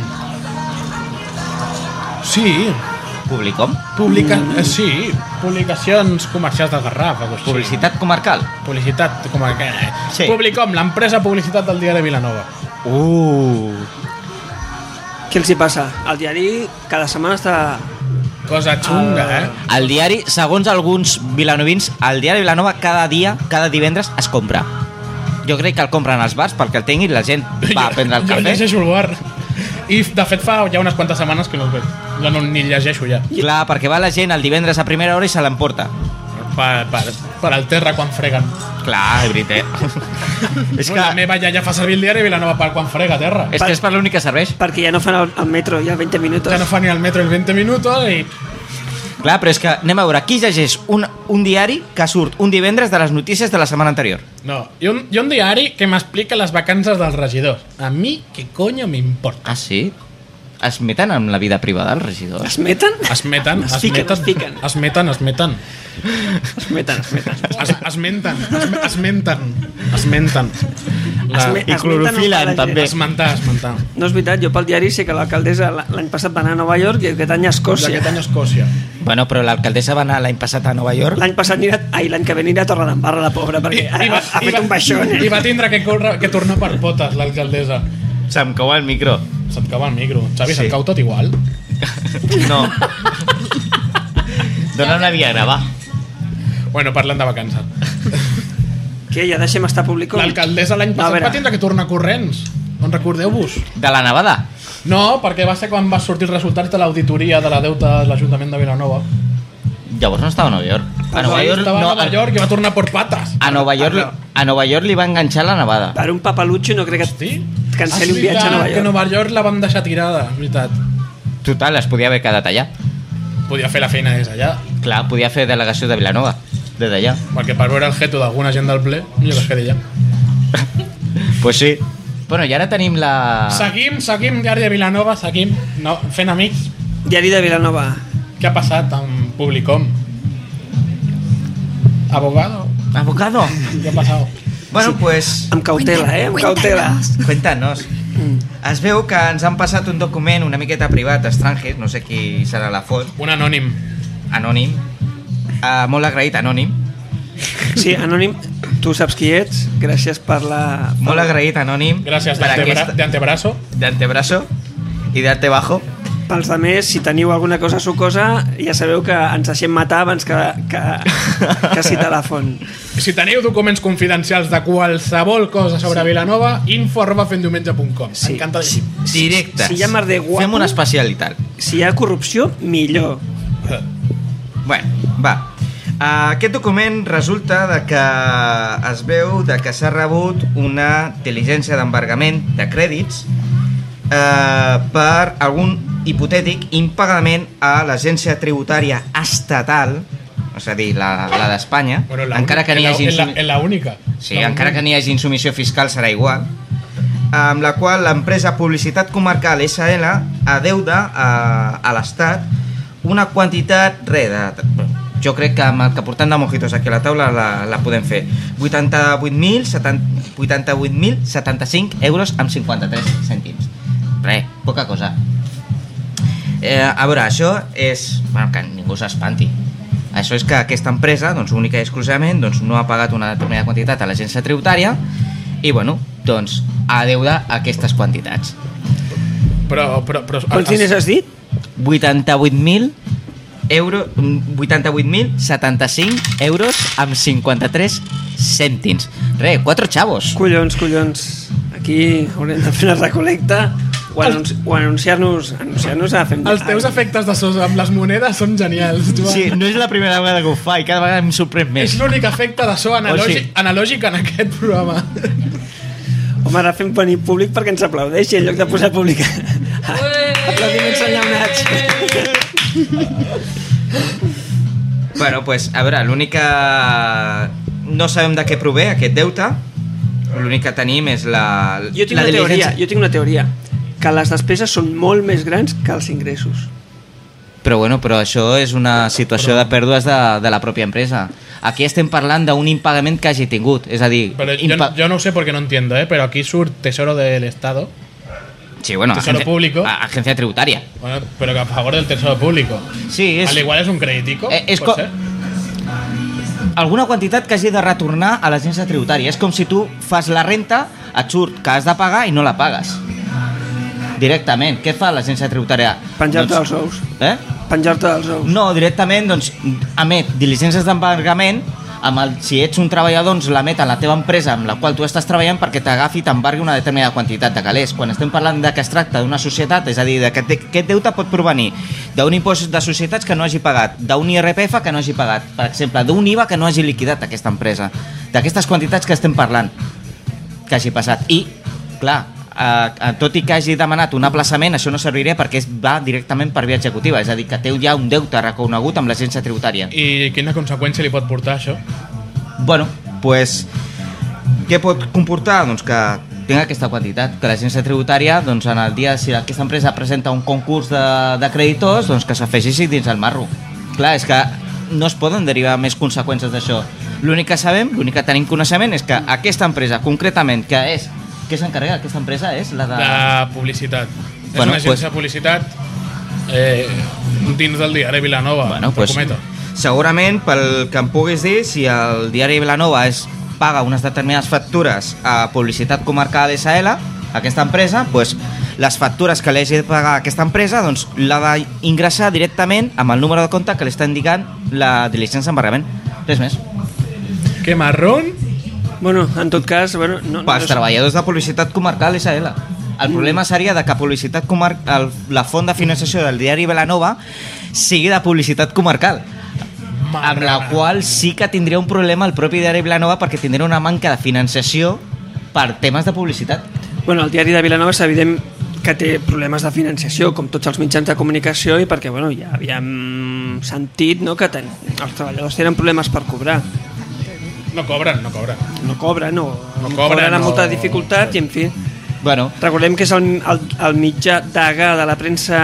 Sí, Publicom? publica... Mm. eh, sí, publicacions comercials del Garraf, o així. Publicitat comarcal? Publicitat, com a... Sí. Sí. Publicom, l'empresa publicitat del diari Vilanova. Uh, Què els hi passa? El diari cada setmana està... Cosa xunga, Ah. eh? el diari, segons alguns vilanovins, el diari Vilanova cada dia, cada divendres, es compra. Jo crec que el compren als bars perquè el tinguin, la gent va a prendre el <laughs> Jo cafè. llegeixo el bar. I, de fet, fa ja unes quantes setmanes que no el veig. No, no, ni llegeixo ja. Clar, perquè va la gent el divendres a primera hora i se l'emporta. Per, per, per al terra quan freguen. Clar, és <laughs> veritat. eh? és És que... que, La meva iaia fa servir el diari Vilanova per quan frega a terra. és que és per l'únic que serveix. Perquè ja no fan el, el metro i el 20 minuts. Ja no fa ni el metro el 20 minutos i Clar, però és que anem a veure, qui llegeix un, un diari que surt un divendres de les notícies de la setmana anterior? No, hi ha un, hi ha un diari que m'explica les vacances dels regidors. A mi, què coño m'importa? Ah, sí? Es meten amb la vida privada els regidors? Es meten? Es meten, es, Es fiquen, meten, es fiquen. es meten, es meten, Es meten, es meten. es, es menten, es, es menten, es menten. Es La, me- I es meten clorofilen un també. palangre. esmentar, esmentar. No és veritat, jo pel diari sé que l'alcaldessa la- l'any passat va anar a Nova York i aquest any a D'aquest Escòcia. any a Escòcia. Bueno, però l'alcaldessa va anar l'any passat a Nova York. L'any passat anirà... Ai, l'any que ve anirà a Torredembarra, la pobra, perquè ha, ha, ha fet un baixón. I Eh? va tindre que, córrer, que tornar per potes, l'alcaldessa. Se'm cau el micro. Se't cau el micro. Xavi, Sí. se't cau tot igual. No. Dóna una viagra, va. Bueno, parlant de vacances. Què, ja deixem estar públic? L'alcaldessa l'any A passat veure. va tindre que tornar corrents. Doncs recordeu-vos. De la nevada? No, perquè va ser quan va sortir els resultats de l'auditoria de la deuta de l'Ajuntament de Vilanova. Llavors no estava a Nova York. A Nova York, Ah, Estava no, a Nova York i va tornar por patas. a Nova York, a Nova York li va enganxar la nevada. Per un papalutxo no crec que Hosti. et canceli És un viatge a Nova veritat que York. Nova York la van deixar tirada, és veritat. Total, es podia haver quedat allà. Podia fer la feina des d'allà, Clar, podia fer delegació de Vilanova. Des d'allà. perquè per veure el geto d'alguna gent del ple, jo que es quedi allà. Pues sí. Bueno, i ara tenim la... Seguim, seguim, Diari de Vilanova, seguim no, fent amics. Diari de Vilanova. Què ha passat amb Publicom? Abogado, Abogado. què ha passat? Bueno, pues... Amb cautela, eh? Amb cautela. Cuéntanos. Es veu que ens han passat un document una miqueta privat, estranger, no sé qui serà la fot, Un anònim. anònim, uh, molt agraït, anònim, Sí, anònim, tu saps qui ets. Gràcies per la... molt agraït, anònim, Gràcies per d'antebra- aquesta- d'antebraço. d'antebraço i d'arte bajo. Pels de més, si teniu alguna cosa sucosa, ja sabeu que ens deixem matar abans que, que, que si telèfon. Si teniu documents confidencials de qualsevol cosa sobre Vilanova, info arroba fendiumenge.com. Sí. Encantadíssim. <laughs> Sí. Directes. Si hi ha mar de guapo- Fem una especialitat. Si hi ha corrupció, millor. Bueno, va. Uh, aquest document resulta de que es veu de que s'ha rebut una diligència d'embargament de crèdits uh, per algun hipotètic impagament a l'agència tributària estatal, és a dir, la, la d'Espanya, encara que n'hi hagi... en la, insumi- en la única. Sí, encara que n'hi hagi insumissió fiscal serà igual. amb la qual l'empresa Publicitat Comarcal SL adeuda a, a l'Estat una quantitat re de... Jo crec que amb el que portem de mojitos aquí a la taula la, la podem fer. 88.075 88.075 euros amb 53 cèntims. Re, poca cosa. Eh, a veure, això és... Bueno, que ningú s'espanti. Això és que aquesta empresa, doncs, única i exclusivament, doncs, no ha pagat una determinada quantitat a l'agència tributària i, bueno, doncs, a deuda aquestes quantitats. Però, però, però, Quants diners has dit? 88.000 euro, 88.075 euros amb 53 cèntims. Re, quatre xavos. Collons, collons. Aquí haurem de fer una recolecta o, anunci o anunciar-nos anunciar-nos a fem... els teus a- efectes de sos amb les monedes són genials, Joan. Sí, no és la primera vegada que ho fa i cada vegada em sorprèn És més. l'únic efecte de so analògic, O sigui- analògic en aquest programa. Home, ara fem venir públic perquè ens aplaudeixi en lloc de posar públic. Aplaudiments enllaunats. Bueno, pues, a veure, l'única... No sabem de què prové aquest deute. L'únic que tenim és la... Jo tinc, la una teoria, diligència. jo tinc una teoria que les despeses són molt més grans que els ingressos. Però bueno, però això és una situació de pèrdues de, de la pròpia empresa. Aquí estem parlant d'un impagament que hagi tingut, és a dir... Pero yo, impa- yo no sé porque no entiendo, ¿eh? Pero aquí sur Tesoro del Estado. Sí, bueno, Tesoro público. a- agencia tributària. Bueno, pero que a favor del Tesoro Público. Sí, és Al igual es un creditico. Eh, es pot co- ser. alguna quantitat que hagi de retornar a l'agència tributària. És com si tu fas la renta, et surt que has de pagar i no la pagues. Directament. Què fa l'agència tributària? Penjar-te Doncs- dels ous. Eh? Penjar-te dels ous. No, directament, doncs, emet diligències d'embargament amb el, si ets un treballador, doncs l'emet a la teva empresa amb la qual tu estàs treballant perquè t'agafi i t'embargui una determinada quantitat de calés. Quan estem parlant de que es tracta d'una societat, és a dir, de que te- aquest deute pot provenir d'un impost de societats que no hagi pagat, d'un IRPF que no hagi pagat, per exemple, d'un IVA que no hagi liquidat aquesta empresa, d'aquestes quantitats que estem parlant que hagi passat. I, clar, eh, eh, tot i que hagi demanat un aplaçament, això no serviria perquè es va directament per via executiva, és a dir, que té ja un deute reconegut amb l'agència tributària. I... I quina conseqüència li pot portar això? Bueno, pues, què pot comportar? Doncs que tinc aquesta quantitat, que l'agència tributària, doncs en el dia, si aquesta empresa presenta un concurs de, de creditors, doncs que s'afegeixi dins el marro. Clar, és que no es poden derivar més conseqüències d'això. L'únic que sabem, l'únic que tenim coneixement és que aquesta empresa, concretament, que és que s'encarrega aquesta empresa és la de... La publicitat. Es Ah. Bueno, una agencia pues- de publicitat eh, dins del diari Vilanova, bueno, Bueno, pues, segurament, pel que em puguis dir, si el diari Vilanova es paga unes determinades factures a publicitat comarcal SL, aquesta empresa, pues, les factures que li hagi de pagar a aquesta empresa doncs, l'ha d'ingressar directament amb el número de compte que li està indicant la diligència d'embargament. Res més. Que marrón. Bueno, en tot cas, bueno, no, no, Pels no, treballadors de publicitat comarcal SL. El problema seria de que publicitat comar el, la font de finançació del diari Vilanova sigui de publicitat comarcal. amb la qual sí que tindria un problema el propi diari Vilanova perquè tindria una manca de finançació per temes de publicitat. Bueno, el diari de Vilanova és evident que té problemes de financiació, com tots els mitjans de comunicació, i perquè bueno, ja havíem sentit no, que ten, els treballadors tenen problemes per cobrar. No cobran, no cobran. No cobren, no, No cobren, cobren, amb no- molta dificultat, i en fi... Bueno, Recordem que és el, el, el mitjà d'AGA de la premsa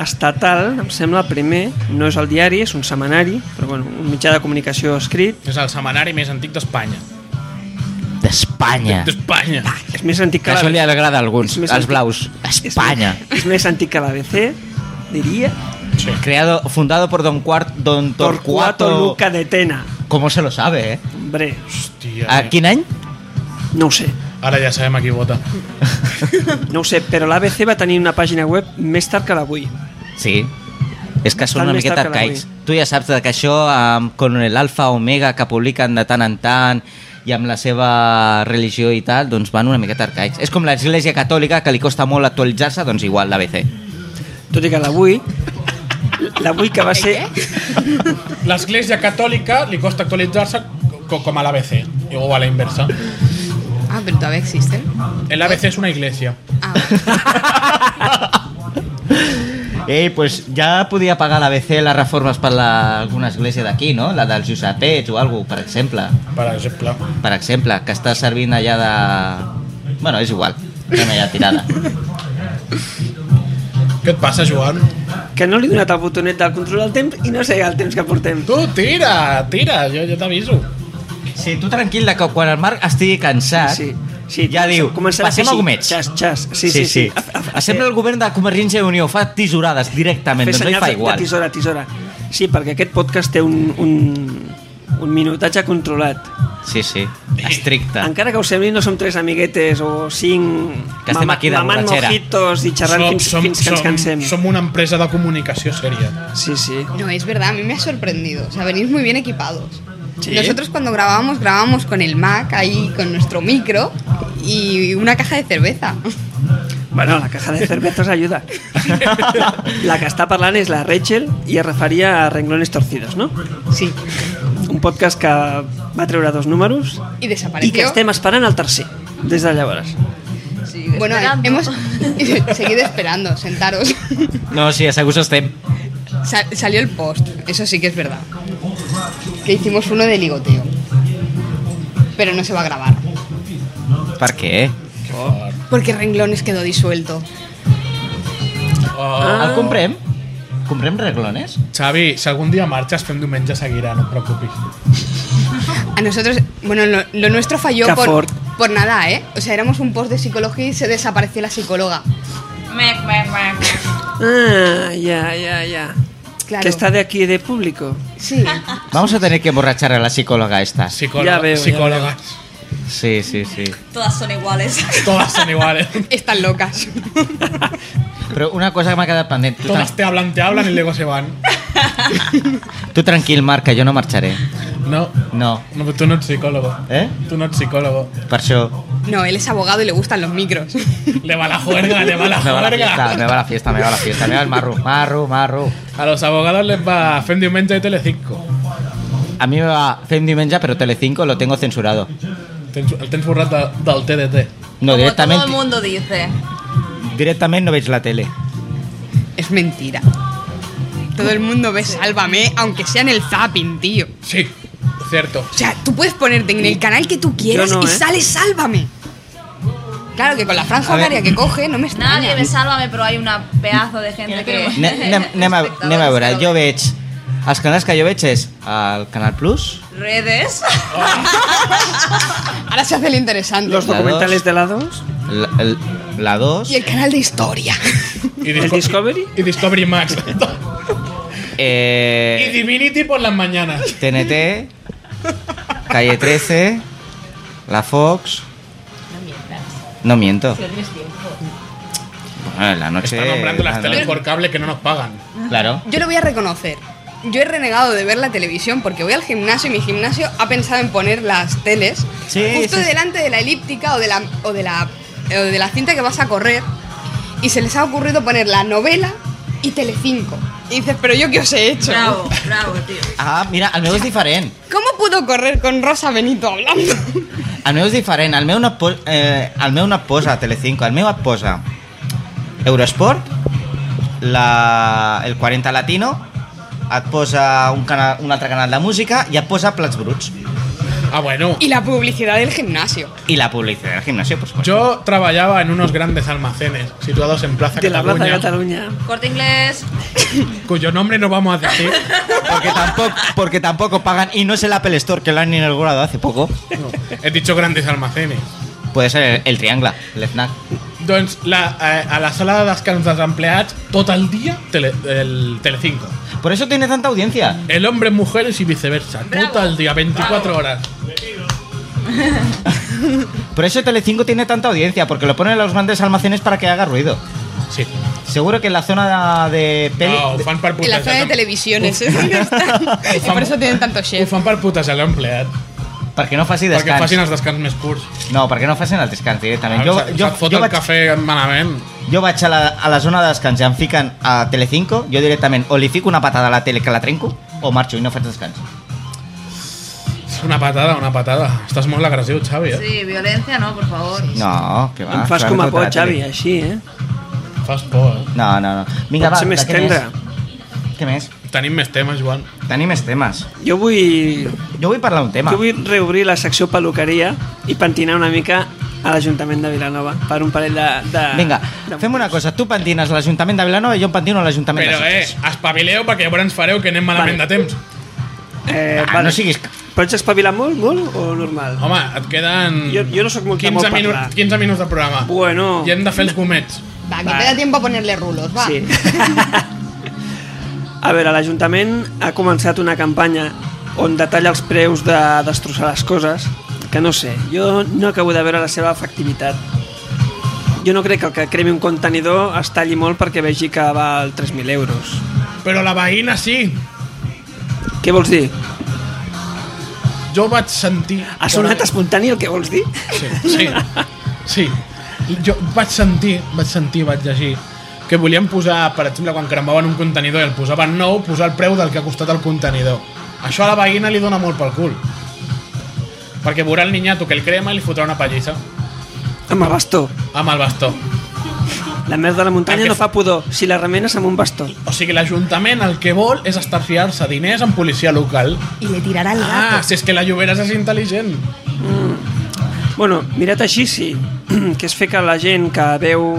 estatal, em sembla el primer, no és el diari, és un setmanari, però bueno, un mitjà de comunicació escrit, És el setmanari més antic d'Espanya. d'Espanya. D'Espanya. és més antic Que que això li la, agrada a alguns, És més als antic. blaus. Espanya. és més antic que l'ABC, diria, Creado, fundado por Don, Quart, Don Torquato Torcuato... Luca de Tena. ¿Cómo se lo sabe, eh? Hombre, Hòstia. eh. ¿A quin any? no ho sé. Ara ja sabem a qui vota. No ho sé, però l'ABC va tenir una pàgina web més tard que l'avui. Sí. És que són Tant una més miqueta tard que arcaics. Tu ja saps que això amb con el alfa omega que publiquen de tant en tant i amb la seva religió i tal, doncs van una miqueta arcaics. És com l'església catòlica que li costa molt actualitzar-se, doncs igual l'ABC. <laughs> Tot i que l'avui... L'avui que va ser... L'Església Catòlica li costa actualitzar-se co- com a l'ABC, o a la inversa. Ah, pero todavía existen. El ABC és una iglesia. Ah, vale. Ei, pues ja podia pagar l'ABC les reformes per la, alguna església d'aquí, no? La dels Giuseppets o alguna per exemple. Per exemple. Per exemple, que està servint allà de... Bueno, és igual. Fem allà tirada. Què et passa, Joan? Que no li he donat el botonet del control del temps i no sé el temps que portem. Tu, tira, tira, jo, jo t'aviso. Sí, tu tranquil, que quan el Marc estigui cansat... Sí, sí. Ja diu, Començarà a fer passem a així. gomets. Xas, xas. Sí, sí, sí. Sembla el govern de Convergència i Unió, fa tisorades directament, Fer doncs ell senyals fa de- de igual. tisora, tisora. Sí, perquè aquest podcast té un, un, un minutatge controlat. Sí, sí, estricte. Encara que us sembli, no som tres amiguetes o cinc Que estem aquí de mamant borratxera. mojitos i xerrant som, fins, som, fins que ens cansem. Som, som una empresa de comunicació seria. Sí, sí. No, es verdad, a mí me ha sorprendido. O sea, venís muy bien equipados. Sí. Nosotros cuando grabábamos, grabábamos con el Mac, ahí con nuestro micro y una caja de cerveza. <laughs> Bueno, la caja de cervezas ajuda. la que està parlant és la Rachel i es referia a Renglones Torcidos, no? Sí. Un podcast que va treure dos números Y i que desapareció. estem esperant el tercer, des de llavors. bueno, esperando. <laughs> hemos <laughs> seguido esperando, sentaros. <laughs> <laughs> No, sí, a segur estem. Sa- salió el post, eso sí que es verdad. Que hicimos uno de ligoteo. Pero no se va a grabar. Per què? Oh. Porque Renglones quedó disuelto. Oh. Ah. Ah. El comprem? Comprem reglones? Xavi, si algun dia marxes, fem diumenge seguirà, no et preocupis. A nosotros, bueno, lo, lo nuestro falló por, Cafort. por nada, ¿eh? O sea, éramos un post de psicología y se desapareció la psicóloga. Mec, mec, mec. Ah, ja, ja, ja. Claro. Que està de aquí de público. Sí. Vamos a tener que emborrachar a la psicóloga esta. Psicóloga, Ya veo, ya psicólogas. Sí, sí, sí. Todas son iguales. Todas son <laughs> iguales. Están locas. Però una cosa que m'ha quedat pendent. Tu, Todas te hablan, te hablan y luego se van. tran tu tranquil, Marc, que jo no marxaré. No, No. no però tu no ets psicólogo. Eh? Tú no eres psicólogo. Per això... No, él es abogado y le gustan los micros. <laughs> Le va la juerga, le va la Me va la fiesta, juerga. me va la fiesta, me va la fiesta, me va el marro, marro, marro. A los abogados les va fem diumenge de Telecinco. A mí me va Fem Diumenge, pero Telecinco lo tengo censurado. Tens, el tens borrat de, del TDT. No, Como todo directamente, el mundo dice. directamente no veis la tele. Es mentira. Todo el mundo ve Sálvame, aunque sea en el zapping, tío. Sí, cierto. O sea, tú puedes ponerte en el canal que tú quieras Yo no, y ¿eh? sale Sálvame. Claro que con la franja A ver. horaria que coge no me extraña. Nadie me sálvame, pero hay una pedazo de gente <laughs> que. Ne- Anem, anem, a, anem a veure, jo veig... Els canals que jo veig és el Canal Plus, Redes. Ahora se hace el interesante. Los La dos. documentales de la 2, la, el- la 2, Y el canal de historia. <laughs> Y el Disco- Discovery, Y Discovery Max. <laughs> y eh, Divinity por las mañanas. TNT, Calle 13, la Fox... No miento. Bueno, en la noche... Están nombrando las la teles noche- por cable que no nos pagan. Claro. Yo lo voy a reconocer. Yo he renegado de ver la televisión porque voy al gimnasio y mi gimnasio ha pensado en poner las teles Sí, justo sí, sí. delante de la elíptica o de la, o, de la, o de la cinta que vas a correr y se les ha ocurrido poner la novela y Telecinco. Y dices, pero yo qué os he hecho. Bravo, bravo, tío. Ah, mira, el meu és diferent. ¿Cómo puedo correr con Rosa Benito hablando? El meu és diferent. El meu no, et po- eh, el meu no et posa Telecinco. El meu et posa Eurosport, la, el 40 Latino, et posa un, canal, un altre canal de música i et posa Plats Bruts. Ah, bueno. Y la publicidad del gimnasio. I la publicitat del gimnasio, pues, per supuesto. Yo trabajaba en unos grandes almacenes situados en Plaza de la Plaza de Cataluña, Cataluña. Corte inglés. cuyo nombre no vamos a decir. Porque tampoco, porque tampoco pagan y no es el Apple Store que lo han inaugurado hace poco. No, he dicho grandes almacenes. Puede ser el, el Triangle, el FNAC. Doncs la, eh, a la sala de descans dels empleats, tot el dia, tele, el Telecinco. Por eso tiene tanta audiencia. El hombre, mujeres y viceversa. Bravo. Todo el día, 24 horas. Por eso Telecinco tiene tanta audiencia, porque lo ponen en los grandes almacenes para que haga ruido. Sí. Seguro que en la zona de peli... No, ho de- fan per En la putes. zona de televisiones. ¿eh? <laughs> ¿Dónde están? Y por eso tienen tanto Ho chef. fan per putes a l'empleat. Perquè no faci descans. Perquè facin Ah, els descans més curts. No, perquè no facin el descans directament. jo, Jo, se't, jo, se't fot jo, el vaig, cafè malament. jo vaig a la, a la zona de descans i em fiquen a Telecinco, jo directament o li fico una patada a la tele que la trenco o marxo i no faig descans. És una patada, una patada. Estàs molt agressiu, Xavi, eh? Sí, violencia no, por favor. No, que va. Em fas clar, com a contra por, la Xavi, tele. així, eh? Fas por, eh? No, no, no. Vinga, va, Potser més va, què tendre. més? Què més? Tenim més temes, Joan. Tenim més temes. Jo vull, Jo vull parlar un tema. jo vull reobrir la secció peluqueria i pentinar una mica a l'Ajuntament de Vilanova per un parell de... de Vinga, de... fem una cosa. Tu pentines a l'Ajuntament de Vilanova i jo em pentino a l'Ajuntament de Però, eh, Sitges. espavileu perquè llavors fareu que anem malament Vale. de temps. Eh, Ah, no siguis... ca- Però ets espavilat molt, molt o normal? Home, et queden... Jo- jo no sóc molt de 15, molt minu parlar. 15 minuts de programa. Bueno. I hem de fer els gomets. Va, que Va. te da tiempo a ponerle rulos, va. Sí. <laughs> A veure, l'Ajuntament ha començat una campanya on detalla els preus de destrossar les coses, que no sé, jo no acabo de veure la seva efectivitat. Jo no crec que el que cremi un contenidor es talli molt perquè vegi que val 3.000 euros. Però la veïna sí. Què vols dir? Jo vaig sentir... Ha sonat espontani el que vols dir? Sí, sí. sí. Jo vaig sentir, vaig sentir, vaig llegir que volien posar, per exemple, quan cremaven un contenidor i el posaven nou, posar el preu del que ha costat el contenidor. Això a la veïna li dona molt pel cul. Perquè veurà el niñato que el crema i li fotrà una pallissa Amb el bastó. amb el bastó. La merda de la muntanya Perquè- no fa pudor si la remenes amb un bastó. O sigui, l'Ajuntament el que vol és estarfiar-se diners en policia local. Y le tirará el gato. Ah, si és que la Lloberes és intel·ligent. Bueno, mirat així sí, <clears throat> que és fer que la gent que veu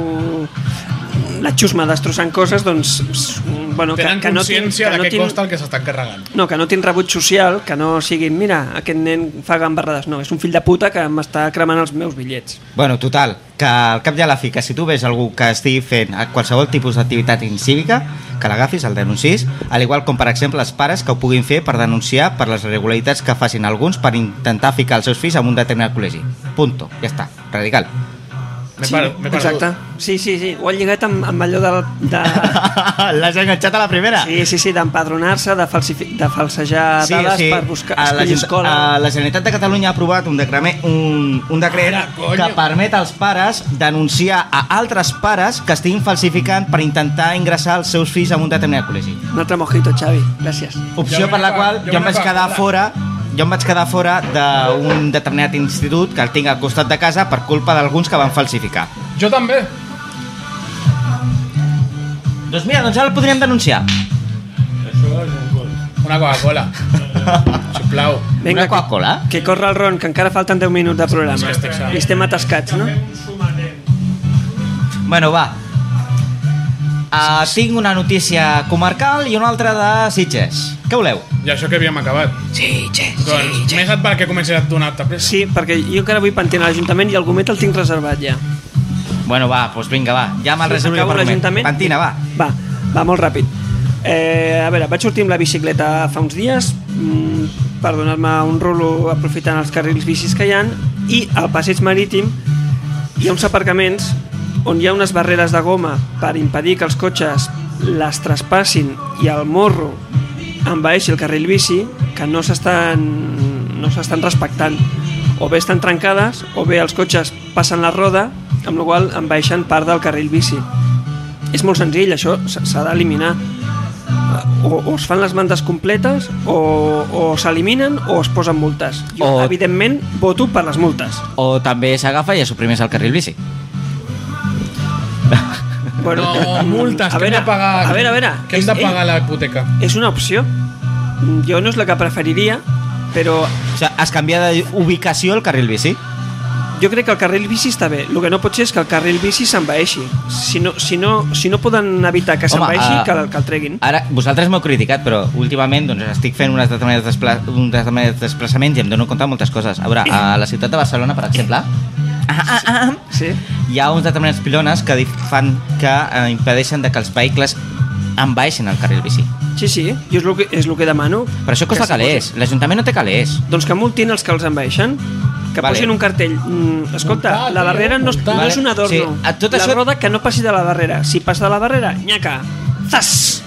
la xusma destrossant coses, doncs, s- bueno, que, Tenen que no tin- consciència que de no què tin- costa el que s'estan carregant. No, que no tinc rebuig social, que no siguin, mira, aquest nen fa gambarrades. No, és un fill de puta que m'està cremant els meus bitllets. Bueno, total, que al cap i a la fi, que si tu veus algú que estigui fent qualsevol tipus d'activitat incívica, que l'agafis, el denuncis, al igual com, per exemple, els pares que ho puguin fer per denunciar per les irregularitats que facin alguns per intentar ficar els seus fills en un determinat col·legi. Punto. Ja està. Radical. M'he per- m'he perdut. exacte. Sí, sí, sí. Ho han lligat amb, amb allò de... de... <laughs> <laughs> L'has enganxat a la primera. Sí, sí, sí, d'empadronar-se, de, falsifi... de falsejar dades per buscar A la, escollir escola. a la Generalitat de Catalunya ha aprovat un, decrame, un, un decret Ara, coño. que permet als pares denunciar a altres pares que estiguin falsificant per intentar ingressar els seus fills en un determinat col·legi. Un altre mojito, Xavi. Gràcies. Opció per la qual jo em vaig quedar fora jo em vaig quedar fora d'un determinat institut que el tinc al costat de casa per culpa d'alguns que van falsificar. Jo també. Doncs mira, doncs ara el podríem denunciar. Això és un gol. Una <laughs> Coca-Cola. Sisplau. Vinga, Una Coca-Cola? Que corre el ron, que encara falten 10 minuts de programa. I estem atascats, no? Un sumanet. Bueno, va. Uh, tinc una notícia comarcal i una altra de Sitges. Què voleu? I això que havíem acabat. Sí, sí, doncs, sí, Més et val que comencis a donar-te pressa. Sí, perquè jo encara vull pentinar a l'Ajuntament i el gomet el tinc reservat ja. Bueno, va, doncs vinga, va. Ja me'l reservo jo Acabo per moment. l'Ajuntament. Pentina, va. Va, va, molt ràpid. Eh, a veure, vaig sortir amb la bicicleta fa uns dies mm, per donar-me un rolo aprofitant els carrils bicis que hi han i al passeig marítim hi ha uns aparcaments on hi ha unes barreres de goma per impedir que els cotxes les traspassin i el morro envaeixi el carril bici que no s'estan no s'estan respectant o bé estan trencades o bé els cotxes passen la roda amb la qual cosa envaeixen part del carril bici és molt senzill, això s- s'ha d'eliminar Eh, o, o es fan les mantes completes o, o s'eliminen o es posen multes jo O- evidentment voto per les multes O també s'agafa i suprimeix el carril bici. bueno, No, multes, a que veure, hem de pagar... a veure, Eh, a veure Que hem és- de ei, pagar la hipoteca. és una opció jo no és la que preferiria però O sigui, has canviat d'ubicació el carril bici. jo crec que el carril bici està bé el que no pot ser és que el carril bici s'envaeixi si no, si, no, si no poden evitar que Home, s'envaeixi ah, que, el- que el treguin Ara, vosaltres m'heu criticat, però últimament doncs, estic fent unes determinades, despla uns determinats desplaçaments i em dono compte de moltes coses. A veure, a la ciutat de Barcelona, per exemple, eh, sí? hi ha uns determinats pilones que dif- fan que eh, impedeixen de que els vehicles envaeixin el carril bici. sí, sí, jo és el que, és el que demano Però això costa Que s'hi calés. L'Ajuntament no té calés. Doncs que multin els que els envaeixen. Que Vale. vale. posin un cartell. Mm, escolta, Multat, la barrera no, es- multat. no és un adorno. Sí, a tot la això- roda que no passi de la barrera. Si passa de la barrera, nyaca. Zas!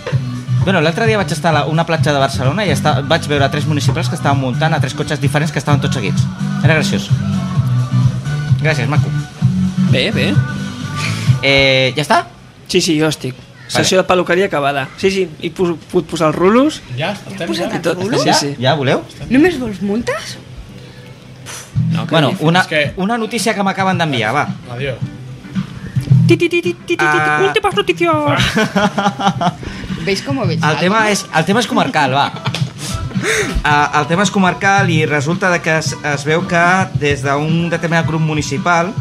Bueno, l'altre dia vaig estar a la- una platja de Barcelona i esta, vaig veure tres municipals que estaven muntant a tres cotxes diferents que estaven tots seguits. Era graciós. Gràcies, maco. Bé, bé. Eh, ja està? Sí, sí, jo estic. Sessió de peluqueria acabada. Sí, sí, i pus, puc posar els rulos Ja, estem posat ja. i tot. Rulos? Sí, Ja? sí. Ja voleu? ¿No me vols multas? No, que- Bueno, una, És que- una notícia que m'acaben <laughs> d'enviar, va. Adiós. Ti, ti, ti, ti, ti, ti, ti, Ah. Últimes notícies. ¿Veis cómo veis? El tema és, el tema és comarcal, <laughs> va. Uh, el tema és comarcal i resulta de que es, es veu que des d'un determinat grup municipal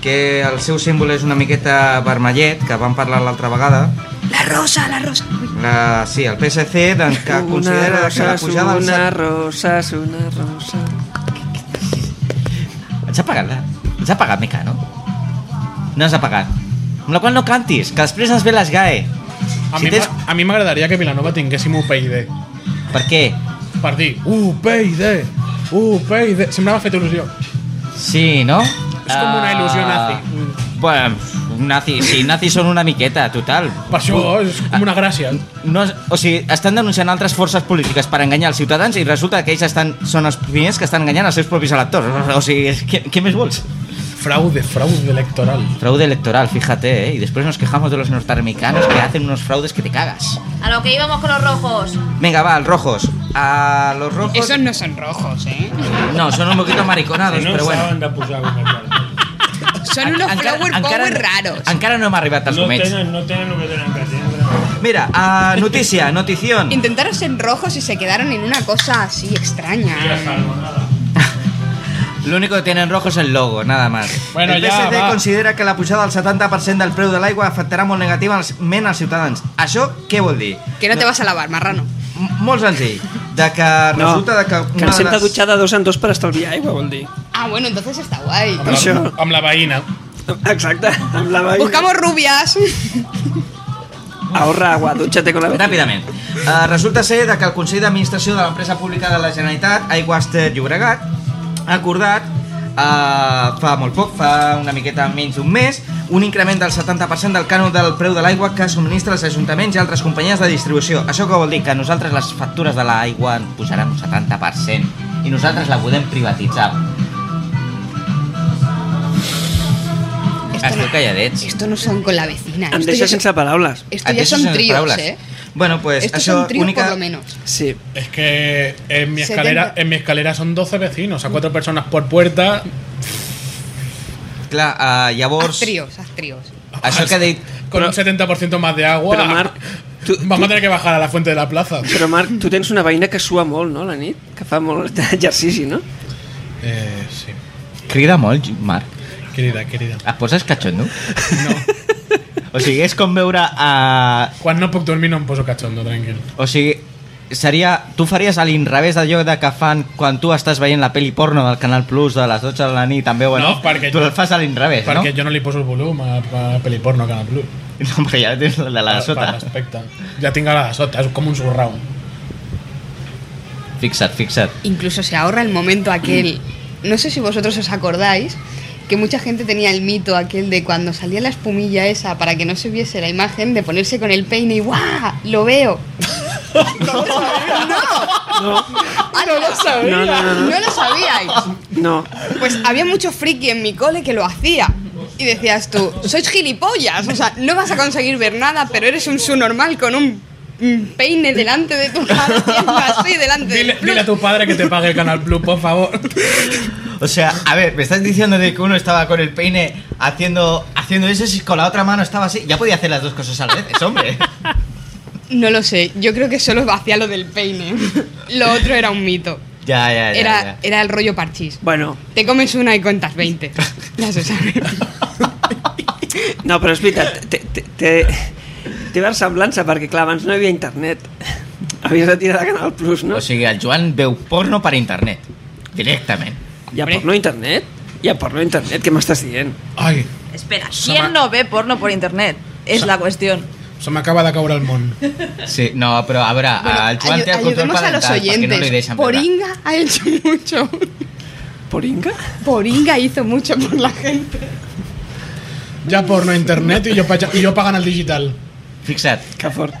que el seu símbol és una miqueta vermellet, que vam parlar l'altra vegada. La rosa, la rosa. La, sí, el PSC doncs, que considera una que la rosa, pujada... al una sat- rosa, és una rosa. Ens ha pagat, la... Ens ha pagat Mica, no? No ens ha pagat. Amb la qual no cantis, que després ens ve les GAE. A Si mi tens... m'a- a mi m'agradaria que Vilanova tinguéssim UPyD. Per què? Per dir, UPyD, UPyD... Sempre m'ha fet il·lusió. Sí, no? Ah, És com una il·lusió nazi. Bueno, nazi, sí, nazis són una miqueta, total. Per això és com una gràcia. No, es- o sigui, estan denunciant altres forces polítiques per enganyar els ciutadans i resulta que ells estan, són els primers que estan enganyant els seus propis electors. O sigui, és- què, què més vols? Fraude, fraude electoral. Fraude electoral, fíjate, ¿eh? Y después nos quejamos de los norteamericanos que hacen unos fraudes que te cagas. A lo que íbamos con los rojos. Venga, va, al rojos. A los rojos... Esos no son rojos, ¿eh? No, son un poquito mariconados, no pero bueno. saben de posar una carta. Son unos Encara- flower encara- power raros. Encara no hem arribat als No comets. tenen, no tenen el que tenen que tenir. Mira, a notícia, notición. Intentaron ser rojos y se quedaron en una cosa así Ja extraña. salmonada. Lo único que tienen rojo es el logo, nada más. Bueno, el ja, PSC va. considera que la pujada del 70% del preu de l'aigua afectarà molt negativament als ciutadans. Això què vol dir? Que no te vas a lavar, marrano. M molt senzill. De que No, resulta de que... que una ens hem de les- dutxar de dos en dos per estalviar aigua, vol dir. Ah, bueno, entonces está guay. Amb la, Això. amb la veïna. Exacte, amb la veïna. Buscamos rubias. Ahorra agua, dutxate con la veïna. Ràpidament. Eh, resulta ser de que el Consell d'Administració de l'empresa pública de la Generalitat, Aigües Ter Llobregat, ha acordat eh, fa molt poc, fa una miqueta menys d'un mes, un increment del 70% del cànon del preu de l'aigua que subministra els ajuntaments i altres companyies de distribució. Això que vol dir? Que nosaltres les factures de l'aigua en pujaran un 70% i nosaltres la podem privatitzar. Esteu calladets. Esto no son con la vecina. Em Esto deixa ya son, sense paraules. esto Et ya deixo son sense tríos, paraules. ¿eh? Bueno, pues Estos això son tríos única... por lo menos. Sí. Es que en mi, 70. escalera, en mi escalera son 12 vecinos, a cuatro personas por puerta. Clar, eh, llavors... Haz tríos, haz tríos. Això que ha dit... <laughs> Con Pero- un 70% más de agua. Però <laughs> Marc, tu, Vamos a tener que bajar a la fuente de la plaza. però Marc, tu tens una veïna que sua molt, no, a la nit? Que fa molt exercici, no? Eh, sí. Crida molt, Marc. Querida, querida. Et poses catxondo? pues No. o sigui, és com veure a... Quan no puc dormir no em poso cachondo, tranquil. O sigui, seria... Tu faries a l'inrevés d'allò de que fan quan tu estàs veient la peli porno del Canal Plus de les 12 de la nit, també ho No, perquè Tu jo- el fas a l'inrevés, no? Perquè jo no li poso el volum a, a Peliporno Canal Plus. <laughs> No, perquè ja tens la de la Per- per de sota. l'aspecte. Ja tinc a la de sota, és com un surrau. Fixa't, fixa't. Incluso se ahorra el momento aquel. No sé si vosotros os acordáis que mucha gente tenía el mito aquel de cuando salía la espumilla esa para que no se viese la imagen de ponerse con el peine y ¡guau! ¡Lo <laughs> veo! ¡No! ¡No lo sabía! No, no, no, no. lo sabíais! No. Pues había mucho friki en mi cole que lo hacía. Y decías tú, sois gilipollas, o sea, no vas a conseguir ver nada, pero eres un subnormal con un mm, peine delante de tu cara, <laughs> haciendo así delante del Dile, plus. dile a tu padre que te pague el Canal Plus, por favor. O sea, a ver, me estás diciendo de que uno estaba con el peine haciendo, haciendo eso y con la otra mano estaba así. Ya podía hacer las dos cosas a la vez, hombre. <laughs> No lo sé, yo creo que solo hacía lo del peine. Lo otro era un mito. ya, <laughs> ya, ya. Era, ya. era el rollo parchís. Bueno, Te comes una y cuentas <laughs> 20. Ya se sabe. no, però és veritat, té, té, té, té versemblança, perquè clar, abans no hi havia internet. Havies de tirar de Canal Plus, no? O sigui, el Joan veu porno per internet. Directament. Hi ha porno a internet? Hi ha porno a internet, què m'estàs dient? <laughs> Ai, Espera, Sama- ¿quién no ve porno por internet? Es la cuestión. se m'acaba de caure el món. Sí, no, però a veure, eh, el Ah, Joan Ayu- té el control ayudemos a parental los perquè no li oyentes. deixen veure. Poringa ha hecho <laughs> mucho. Poringa? Poringa hizo mucho por la gente. Ja porno a internet i jo, paga- i jo pagant el digital. Fixa't, Que fort.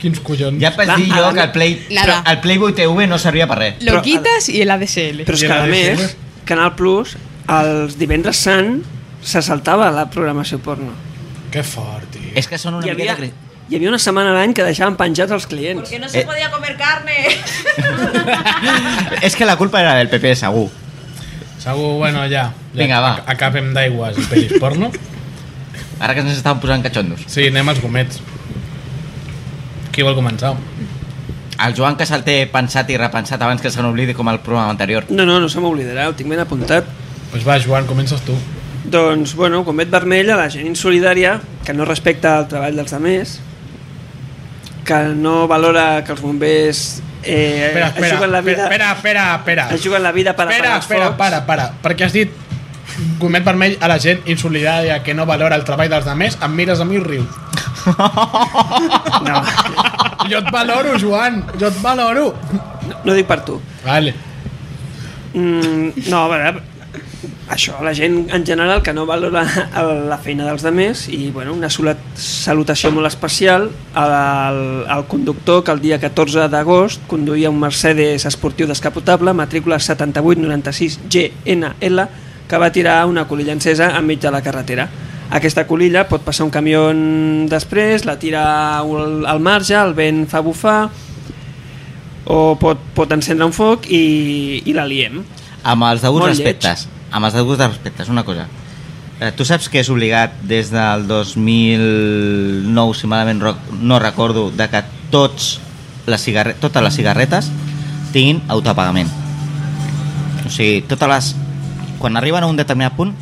Quins collons. ja et vaig Va, dir jo ara- que el, Play, Nada. però el Playboy TV no servia per res. Lo Pero- quitas y el ADSL. Però és I que, la a DSL? més, Canal Plus, els divendres sant, se saltava la programació porno. Que fort, tio. És que són una Hi miqueta... havia, cre- hi havia una setmana a l'any que deixaven penjats els clients. Porque no se se Eh. podía comer carne. <laughs> <laughs> És que la culpa era del PP, segur. Segur, bueno, ja. ja Vinga, va. ac- Acabem d'aigües i pel·lis porno. Ara que ens estaven posant catxondos. Sí, anem als gomets. Qui vol començar? El Joan que se'l té pensat i repensat abans que se n'oblidi com el programa anterior. No, no, no se m'oblidarà, ho tinc ben apuntat. Pues va, Joan, Doncs comences tu. Doncs, bueno, comet vermell a la gent insolidària, que no respecta el treball dels altres, que no valora que els bombers eh, Espera, es juguen espera, la vida, espera, espera, espera. es juguen la vida per Espera, apagar els espera, focs. para, para. Perquè has dit comet vermell a la gent insolidària que no valora el treball dels demés, em mires a mi i rius. <laughs> No, Jo et valoro, Joan, jo et valoro. no, no dic per tu. Vale. Mm, no, a veure, això, la gent en general que no valora el- la feina dels demés i bueno, una sola- salutació molt especial al, al conductor que el dia 14 d'agost conduïa un Mercedes esportiu descapotable matrícula 7896GNL que va tirar una colilla encesa enmig de la carretera. Aquesta colilla pot passar un camió després, la tira al, al marge, el vent fa bufar o pot, pot encendre un foc i, i la liem. Amb els deguts Molt respectes. Amb els deguts respectes, una cosa. Eh, tu saps que és obligat des del 2009, si malament roc- no recordo, de que tots les cigarre totes les cigarretes tinguin autopagament. O sigui, totes les... Quan arriben a un determinat punt,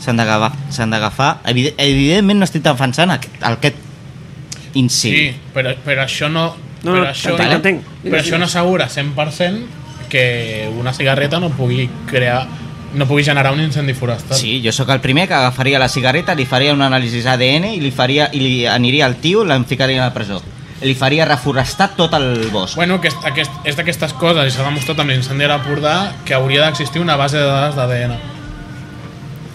s'han d'agafar... s'han d'agafar- Evident, evidentment no estic defensant aquest, aquest Sí, incidi. però, però això no... No, però no, això, t'entenc, t'entenc. Però això no assegura 100% que una cigarreta no pugui crear no pugui generar un incendi forestal. Sí, jo sóc el primer que agafaria la cigarreta, li faria un anàlisi ADN i li, faria, i li aniria al tio i l'en ficaria a la presó. Li faria reforestar tot el bosc. Bueno, que és, aquest, és d'aquestes coses, i s'ha demostrat amb l'incendi de l'Empordà, que hauria d'existir una base de dades d'ADN.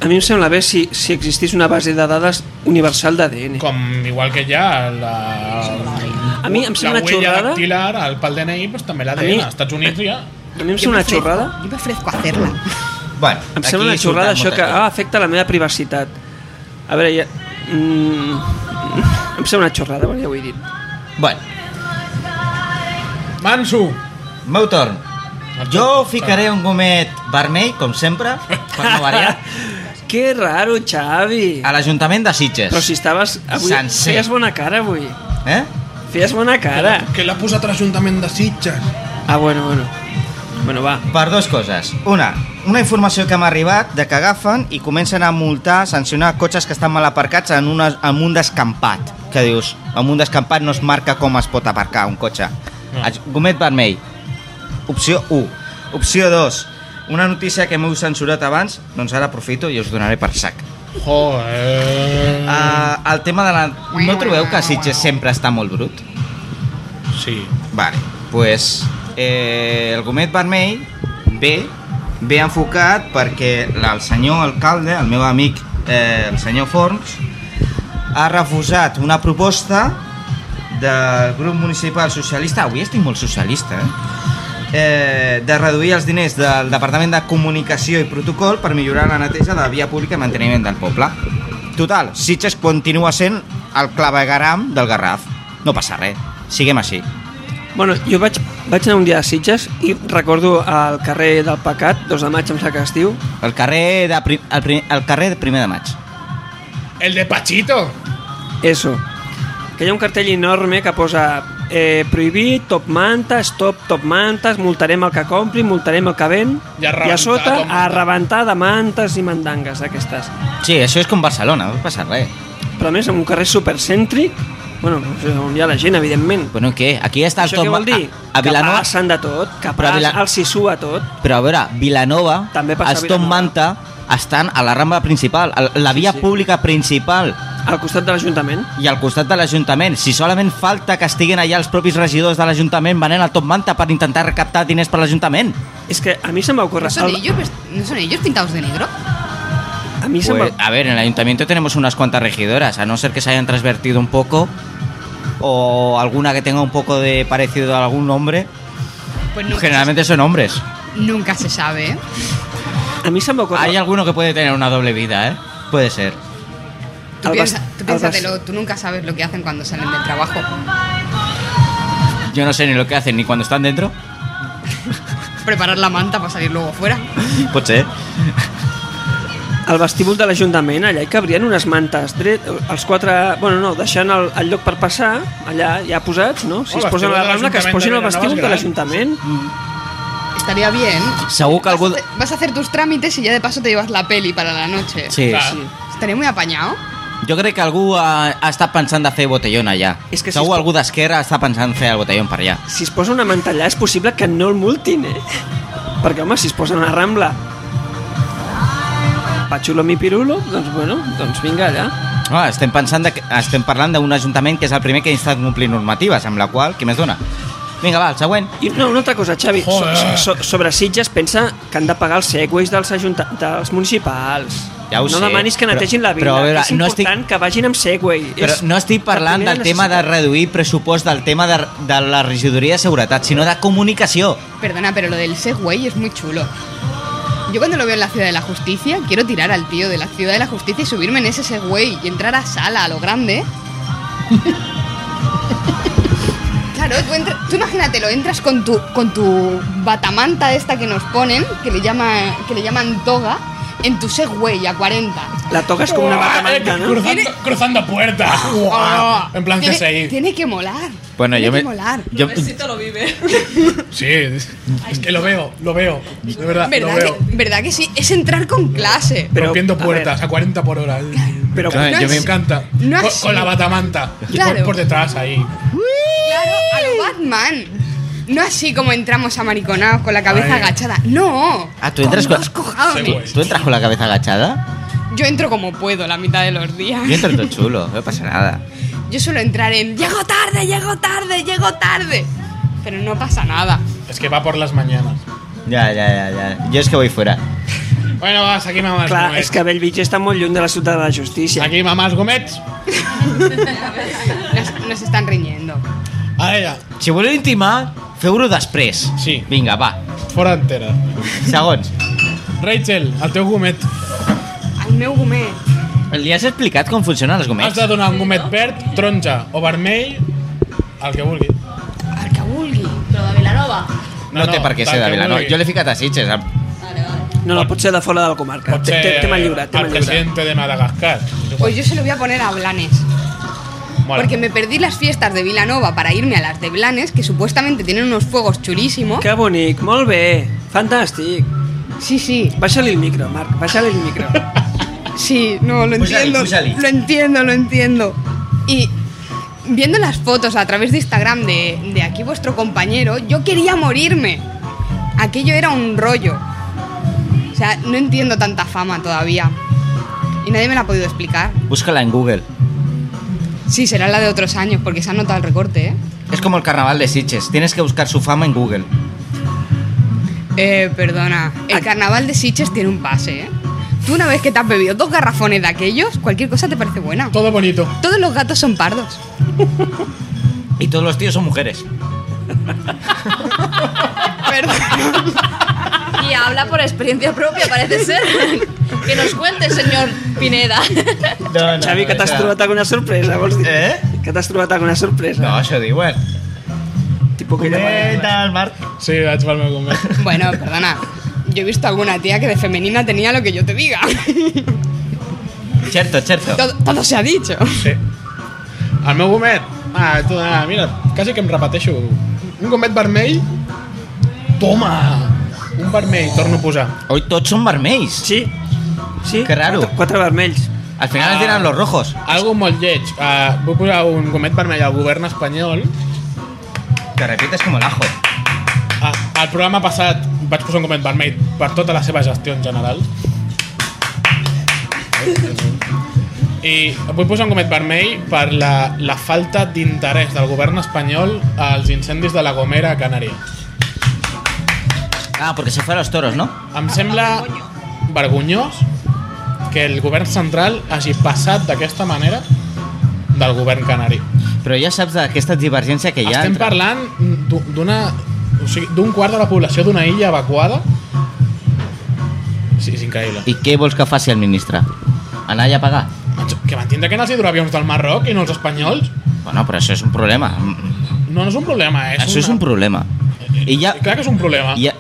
A mi em sembla bé si, si existís una base de dades universal d'ADN. Com igual que ja la... A mi em sembla la una huella xorrada. dactilar, el pal DNI, pues, també A mi- l'ADN. Als Estats Units ja... A mi em sembla una xorrada. Yo me ofrezco a hacerla. bueno Em sembla una aquí xorrada surten això que moltes ah, afecta la meva privacitat. A veure, ja... Mm, <laughs> em sembla una xorrada, bueno, ja ho he dit. coses. Bueno, Manso! meu torn. Jo ficaré un gomet vermell, com sempre, per no <laughs> variar, Que raro, Xavi. a l'Ajuntament de Sitges. Però si estaves... Avui Ah, Sencer. feies bona cara, avui. Eh? Feies bona cara. Que l'ha posat a l'Ajuntament de Sitges. Ah, bueno, bueno. Bueno, va. Per dues coses. Una, una informació que m'ha arribat de que agafen i comencen a multar, sancionar cotxes que estan mal aparcats en, una, en un descampat. Que dius, en un descampat no es marca com es pot aparcar un cotxe. No. No. Gomet vermell. Opció 1. Opció 2. Una notícia que m'heu censurat abans, doncs ara aprofito i us donaré per sac. Joder... Uh, el tema de la... No trobeu que Sitges sempre està molt brut? Sí. Vale, pues eh, el gomet vermell ve, ve enfocat perquè la- el senyor alcalde, el meu amic, eh, el senyor Forns, ha refusat una proposta del grup municipal socialista, avui estic molt socialista, eh? Eh, de reduir els diners del Departament de Comunicació i Protocol per millorar la neteja de la via pública i manteniment del poble. Total, Sitges continua sent el clavegaram del Garraf. No passa res, siguem així. Bueno, jo vaig, vaig anar un dia a Sitges i recordo al carrer del Pecat, 2 de maig, em sembla que es diu, El carrer de, prim, el, prim, el carrer de primer de maig. El de Pachito. Eso. Que hi ha un cartell enorme que posa eh, prohibit, top manta, stop top mantes, multarem el que compri, multarem el que ven, I a i a rebentar sota top manta. a rebentar de mantes i mandangues d'aquestes. Sí, això és com Barcelona, no passa res. Però a més, en un carrer supercèntric, bueno, no sé, on hi ha la gent, evidentment. Bueno, què? Aquí està el Això què Tom... vol dir? A, a Vilanova... Que passen de tot, que Però a passen, Vila- el sisú a tot. Però a veure, Vilanova, També passa a els Tom Vilanova. Manta estan a la rambla principal, a la via sí. pública principal Al costat de l'Ajuntament. i al costat de l'Ajuntament. Si solament falta que estiguen allà els propis regidors de l'Ajuntament venent al Tom Manta per intentar recaptar diners per l'Ajuntament. És que a mi se m'ocorre... ¿No son, el- ellos, vest- ¿No son ellos pintados de negro? A mi se Pues, m'ocorre... a ver, en el ayuntamiento tenemos unas cuantas regidoras, a no ser que se hayan transvertido un poco o alguna que tenga un poco de parecido a algún hombre. Pues nunca, Generalmente son hombres. nunca se sabe. ¿eh? A mi se m'ocorre... Hay alguno que puede tener una doble vida, ¿eh? Puede ser. Tú, el bas- piensa- tú el bas- piénsatelo, tú nunca sabes lo que hacen cuando salen del trabajo. Yo no sé ni lo que hacen ni cuando <laughs> están dentro. Preparar la manta para salir luego fuera. Puede Pues, eh, ser. al vestíbul de l'Ajuntament, allà hi cabrien unes mantes dret, els quatre, bueno, no, deixant el, el lloc per passar, allà ja posats, no? Si Oh, es posen a la vestíbul de rambla, que es l'Ajuntament posin de al vestíbul de Vilanova és l'Ajuntament. Está estaría bien. Segur que algú... Vas a hacer- Vas a hacer tus trámites y ya de paso te llevas la peli para la noche. Sí, Clar. Ah. sí. Estaré muy apañado. Jo crec que algú ha, ha estat pensant de fer botellón allà. És que si Segur es- algú d'esquerra està pensant fer el botellón per allà. Si es posa una mantellà és possible que no el multin, eh? Perquè, home, si es posa una rambla Pachulo mi pirulo, doncs bueno, doncs vinga allà. No, estem, pensant de, que- estem parlant d'un ajuntament que és el primer que està complint normatives, amb la qual, què més dona? Vinga, va, el següent. I no, una altra cosa, Xavi, so, Joder. so, sobre Sitges pensa que han de pagar els segways dels, ajunta dels municipals. Ja ho no sé, demanis que però- netegin la vila. però a veure, és no important estic- que vagin amb segway. Però és no estic la parlant primera del tema de necessitat. reduir pressupost del tema de, de la regidoria de seguretat, sinó de comunicació. Perdona, pero lo del Segway es muy chulo. Yo cuando lo veo en la Ciudad de la Justicia, quiero tirar al tío de la Ciudad de la Justicia y subirme en ese Segway y entrar a sala, a lo grande. Claro, tú, entra- tú imagínatelo, entras con tu, con tu batamanta esta que nos ponen, que le, llama, que le llaman toga, en tu Segway a 40. La toga és com una bata manta, Eh, no? cruzando, cruzando puertas. Uah, Oh, en plan tiene, CSI. Tiene que molar. Bueno, tiene yo que me- molar. Yo, Robertito lo vive. Sí, es es que lo veo, lo veo. De verdad, lo ¿Verdad veo. que, ¿Verdad que sí? Es entrar con clase. Pero, Rompiendo a ver. puertas a, 40 por hora. Pero- Claro, No yo es- me encanta. no con, es- con la batamanta. Y Claro. Por, por detrás ahí. Claro, a lo Batman. No así como entramos a mariconados con la cabeza Ay. agachada. No. Ah, tú entras con con- dos cojados. Sí, güey. ¿Tú entras con la cabeza agachada? Yo entro como puedo la mitad de los días. Yo entro todo chulo, no pasa nada. Yo suelo entrar en llego tarde, llego tarde, llego tarde. Pero no pasa nada. Es que va por las mañanas. Ya, ya, ya, ya. Yo es que voy fuera. Bueno, vas, aquí mamás Clar, Gómez. és que Bellvitge està molt lluny de la ciutat de la justícia. Aquí mamás Gómez. Nos, nos están riñendo. A ella, Si voleu intimar, feu-ho després. Sí. Vinga, va. fora entera. Segons. Rachel, el teu gomet. Al meu gomé. Li has explicat com funcionen els Has gomets? de donar un gomet verd, taronja o vermell, el que vulgui. Al que vulgui. Però de Vilanova. No, té per què tant ser de que vela, no. vulgui. Jo l'he ficat a Sitges. amb- Vale, vale. No, no, pot ser de fora de la comarca. Pot Té- ser té- Tema lliure, tema el lliure. presidente de Madagascar. Pues yo se lo voy a poner a Blanes. Mola. Porque me perdí las fiestas de Vilanova para irme a las de Blanes, que supuestamente tienen unos fuegos chulísimos. Que bonic, molt bé, fantàstic. Sí, sí, Baixa-li el micro, Marc, baixa-li <laughs> el micro. Sí, no, lo Púsale, entiendo. púsale. Lo entiendo, lo entiendo. Y viendo las fotos a través de Instagram de, de aquí vuestro compañero, yo quería morirme. Aquello era un rollo. O sea, no entiendo tanta fama todavía. Y nadie me la ha podido explicar. Búscala en Google. Sí, será la de otros años, porque se ha notado el recorte, ¿eh? Es como el carnaval de Sitges. Tienes que buscar su fama en Google. Eh, perdona. El Aquí- carnaval de Sitges tiene un pase, ¿eh? Tú una vez que te has bebido dos garrafones de aquellos, cualquier cosa te parece buena. Todo bonito. Todos los gatos son pardos. Y todos los tíos son mujeres. Perdón. Y habla por experiencia propia, parece <laughs> ser. Que nos cuente, señor Pineda. No, Xavi, que t'has trobat alguna sorpresa, vols dir? Eh? Que t'has trobat alguna sorpresa. No, això diuen. Tipo que Comenta al Marc. Sí, vaig pel meu gomet. Bueno, perdona. Yo he visto alguna tía que de femenina tenía lo que yo te diga. Certo, certo. Todo, todo se ha dicho. Sí. El meu gomet. Ah, tu, ah, mira, quasi que em repeteixo. Un gomet vermell. Toma! Un vermell, torno a posar. Hoy tots són vermells. Sí, sí. Que raro. Quatre, quatre vermells. Al final ens diran los rojos. Algo molt lleig. Uh, vull posar un gomet vermell al govern espanyol. Que repites com el ajo. Ah, al programa passat vaig posar un gomet vermell per tota la seva gestió en general. I vull posar un gomet vermell per la, la falta d'interès del govern espanyol als incendis de la Gomera a Canàries. Ah, porque se fue a los toros, ¿no? Em sembla vergonyós que el govern central hagi passat d'aquesta manera del govern canari. Però ja saps d'aquesta divergència que hi ha. Estem entre- parlant d'u- d'una... O sigui, d'un quart de la població d'una illa evacuada. Sí, és increïble. I què vols que faci el ministre? Anar allà a pagar? Doncs Que m'entendre que han els hidroavions del Marroc i no els espanyols? Bueno, però això és un problema. No, no és un problema, és això és una- un problema. I ja, Clar que és un problema. ja,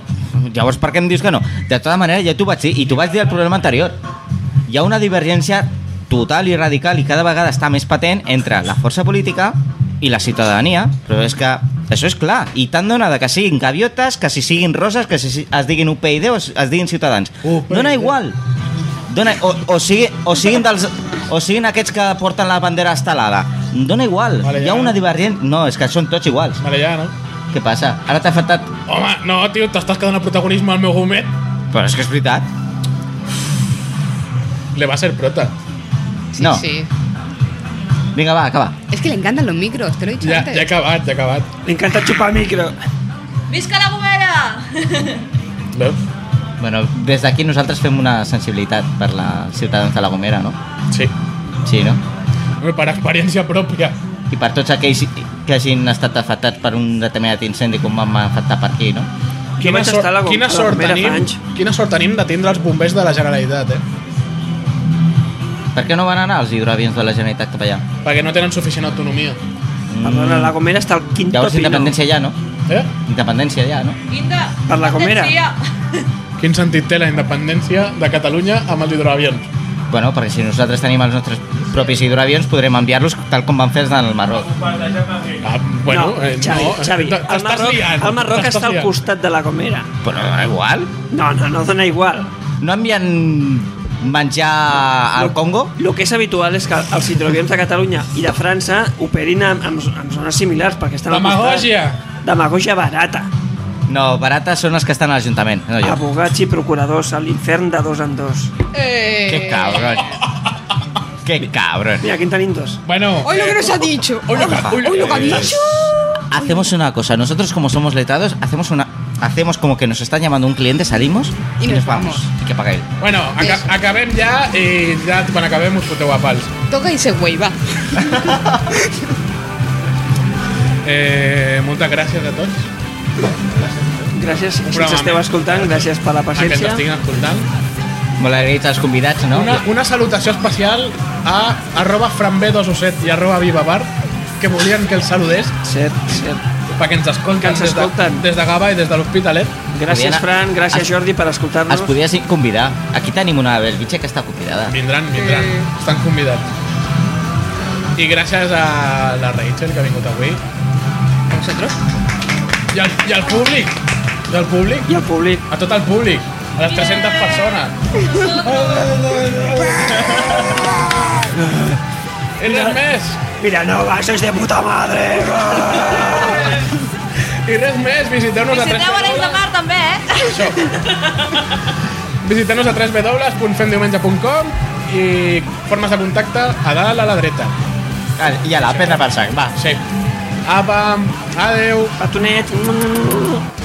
llavors, per què em dius que no? De tota manera, ja t'ho vaig dir, i t'ho vaig dir al problema anterior. Hi ha una divergència total i radical i cada vegada està més patent entre la força política i la ciutadania, però és que Això és clar. I tant dona de que siguin gaviotes, que si siguin roses, que si si- es diguin UPyD o es es diguin ciutadans. UPyD. Dona igual. Dona, o, o, sigui, o, siguin dels, o siguin aquests que porten la bandera estelada. Dona igual. Vale, Hi ha ja. una divergent... No, és que són tots iguals. Vale, ja, no? Què passa? Ara t'ha faltat... Home, no, tio, t'estàs quedant el protagonisme al meu gomet. Però és que és veritat. Le va a ser prota. Sí, no. sí. Vinga, va, acaba. Es que le encantan los micros, te lo he dicho Ja, antes. ja he acabat, ja he acabat. Li encanta xupar micro. <laughs> Mm. ¡Visca la gomera! Veus? Bueno, des d'aquí nosaltres fem una sensibilitat per la ciutadans de la Gomera, no? Sí. Sí, no? Home, Per experiència pròpia. I per tots aquells que hagin estat afectats per un determinat incendi com vam afectar per aquí, no? vaig estar a la Gom- quina a la sort Gomera fa tenim, anys. quina sort tenim de tindre els bombers de la Generalitat, eh? Per què no van anar els hidroavions de la Generalitat cap allà? Perquè no tenen suficient autonomia. Perdona, la Gomera està al quinto Mm, Llavors pino. independència ja, no? Eh? Independència ja, no? Guinda, Per la gomera. atenció. Quin sentit té la independència de Catalunya amb els hidroavions? Bueno, perquè si nosaltres tenim els nostres propis hidroavions podrem enviar-los tal com van fer els del Marroc. Ah, bueno, no, eh, Xavi, no, Xavi, t- t'estàs el Marroc, liant, el Marroc t'estàs està al liant. costat de la Gomera. Però no, igual. No, no, no dona igual. No envien menjar al Congo? El que és habitual és que els hidroavions de Catalunya i de França operin en, en, en zones similars, perquè estan al costat. Demagògia. Demagogia barata. No, barates són els que estan a l'Ajuntament, no Ah, jo. Abogats i procuradors a l'infern de dos en dos. Eh... Que cabron. que cabron. Mira, aquí en tenim dos. Bueno, Hoy lo que nos ha dicho. Hoy lo que- hoy lo- Hoy lo que ha dicho. Hacemos una cosa, nosotros como somos letrados, hacemos una hacemos como que nos están llamando un cliente, salimos Y nos vamos. Y que pague él. bueno aca Eso. acabem ja i ja quan acabem us foteu a pals. Toca y se hueva. Eh, moltes gràcies a tots Gràcies, si ens programa esteu més. escoltant, gràcies per la a que ens paciència. estiguin escoltant. Molt agraïts als convidats, no? Una, una salutació especial a arroba franb207 i arroba vivabar que volien que els saludés Cert, cert. perquè ens escolten, Que ens escolten. Des, de, des de Gava i des de l'Hospitalet. Gràcies, Podien- Fran, gràcies, Jordi, per escoltar-nos. Es podies convidar. Aquí tenim una Belvitge que està convidada. Vindran, vindran. Estan convidats. I gràcies a la Rachel que ha vingut avui. A vosaltres. I al, I al públic. I al públic. I al públic. A tot el públic. A les 300 persones. I res més. Mira, no, va, sois de puta madre. I res més, visiteu-nos a Visiteu a l'Eix de 3 Mar també, eh? Visiteu-nos a 3www.femdiumenge.com i formes de contacte a dalt a la dreta. Ah, I a la pedra per sang, va. Sí. Apa, adeu. Patonet.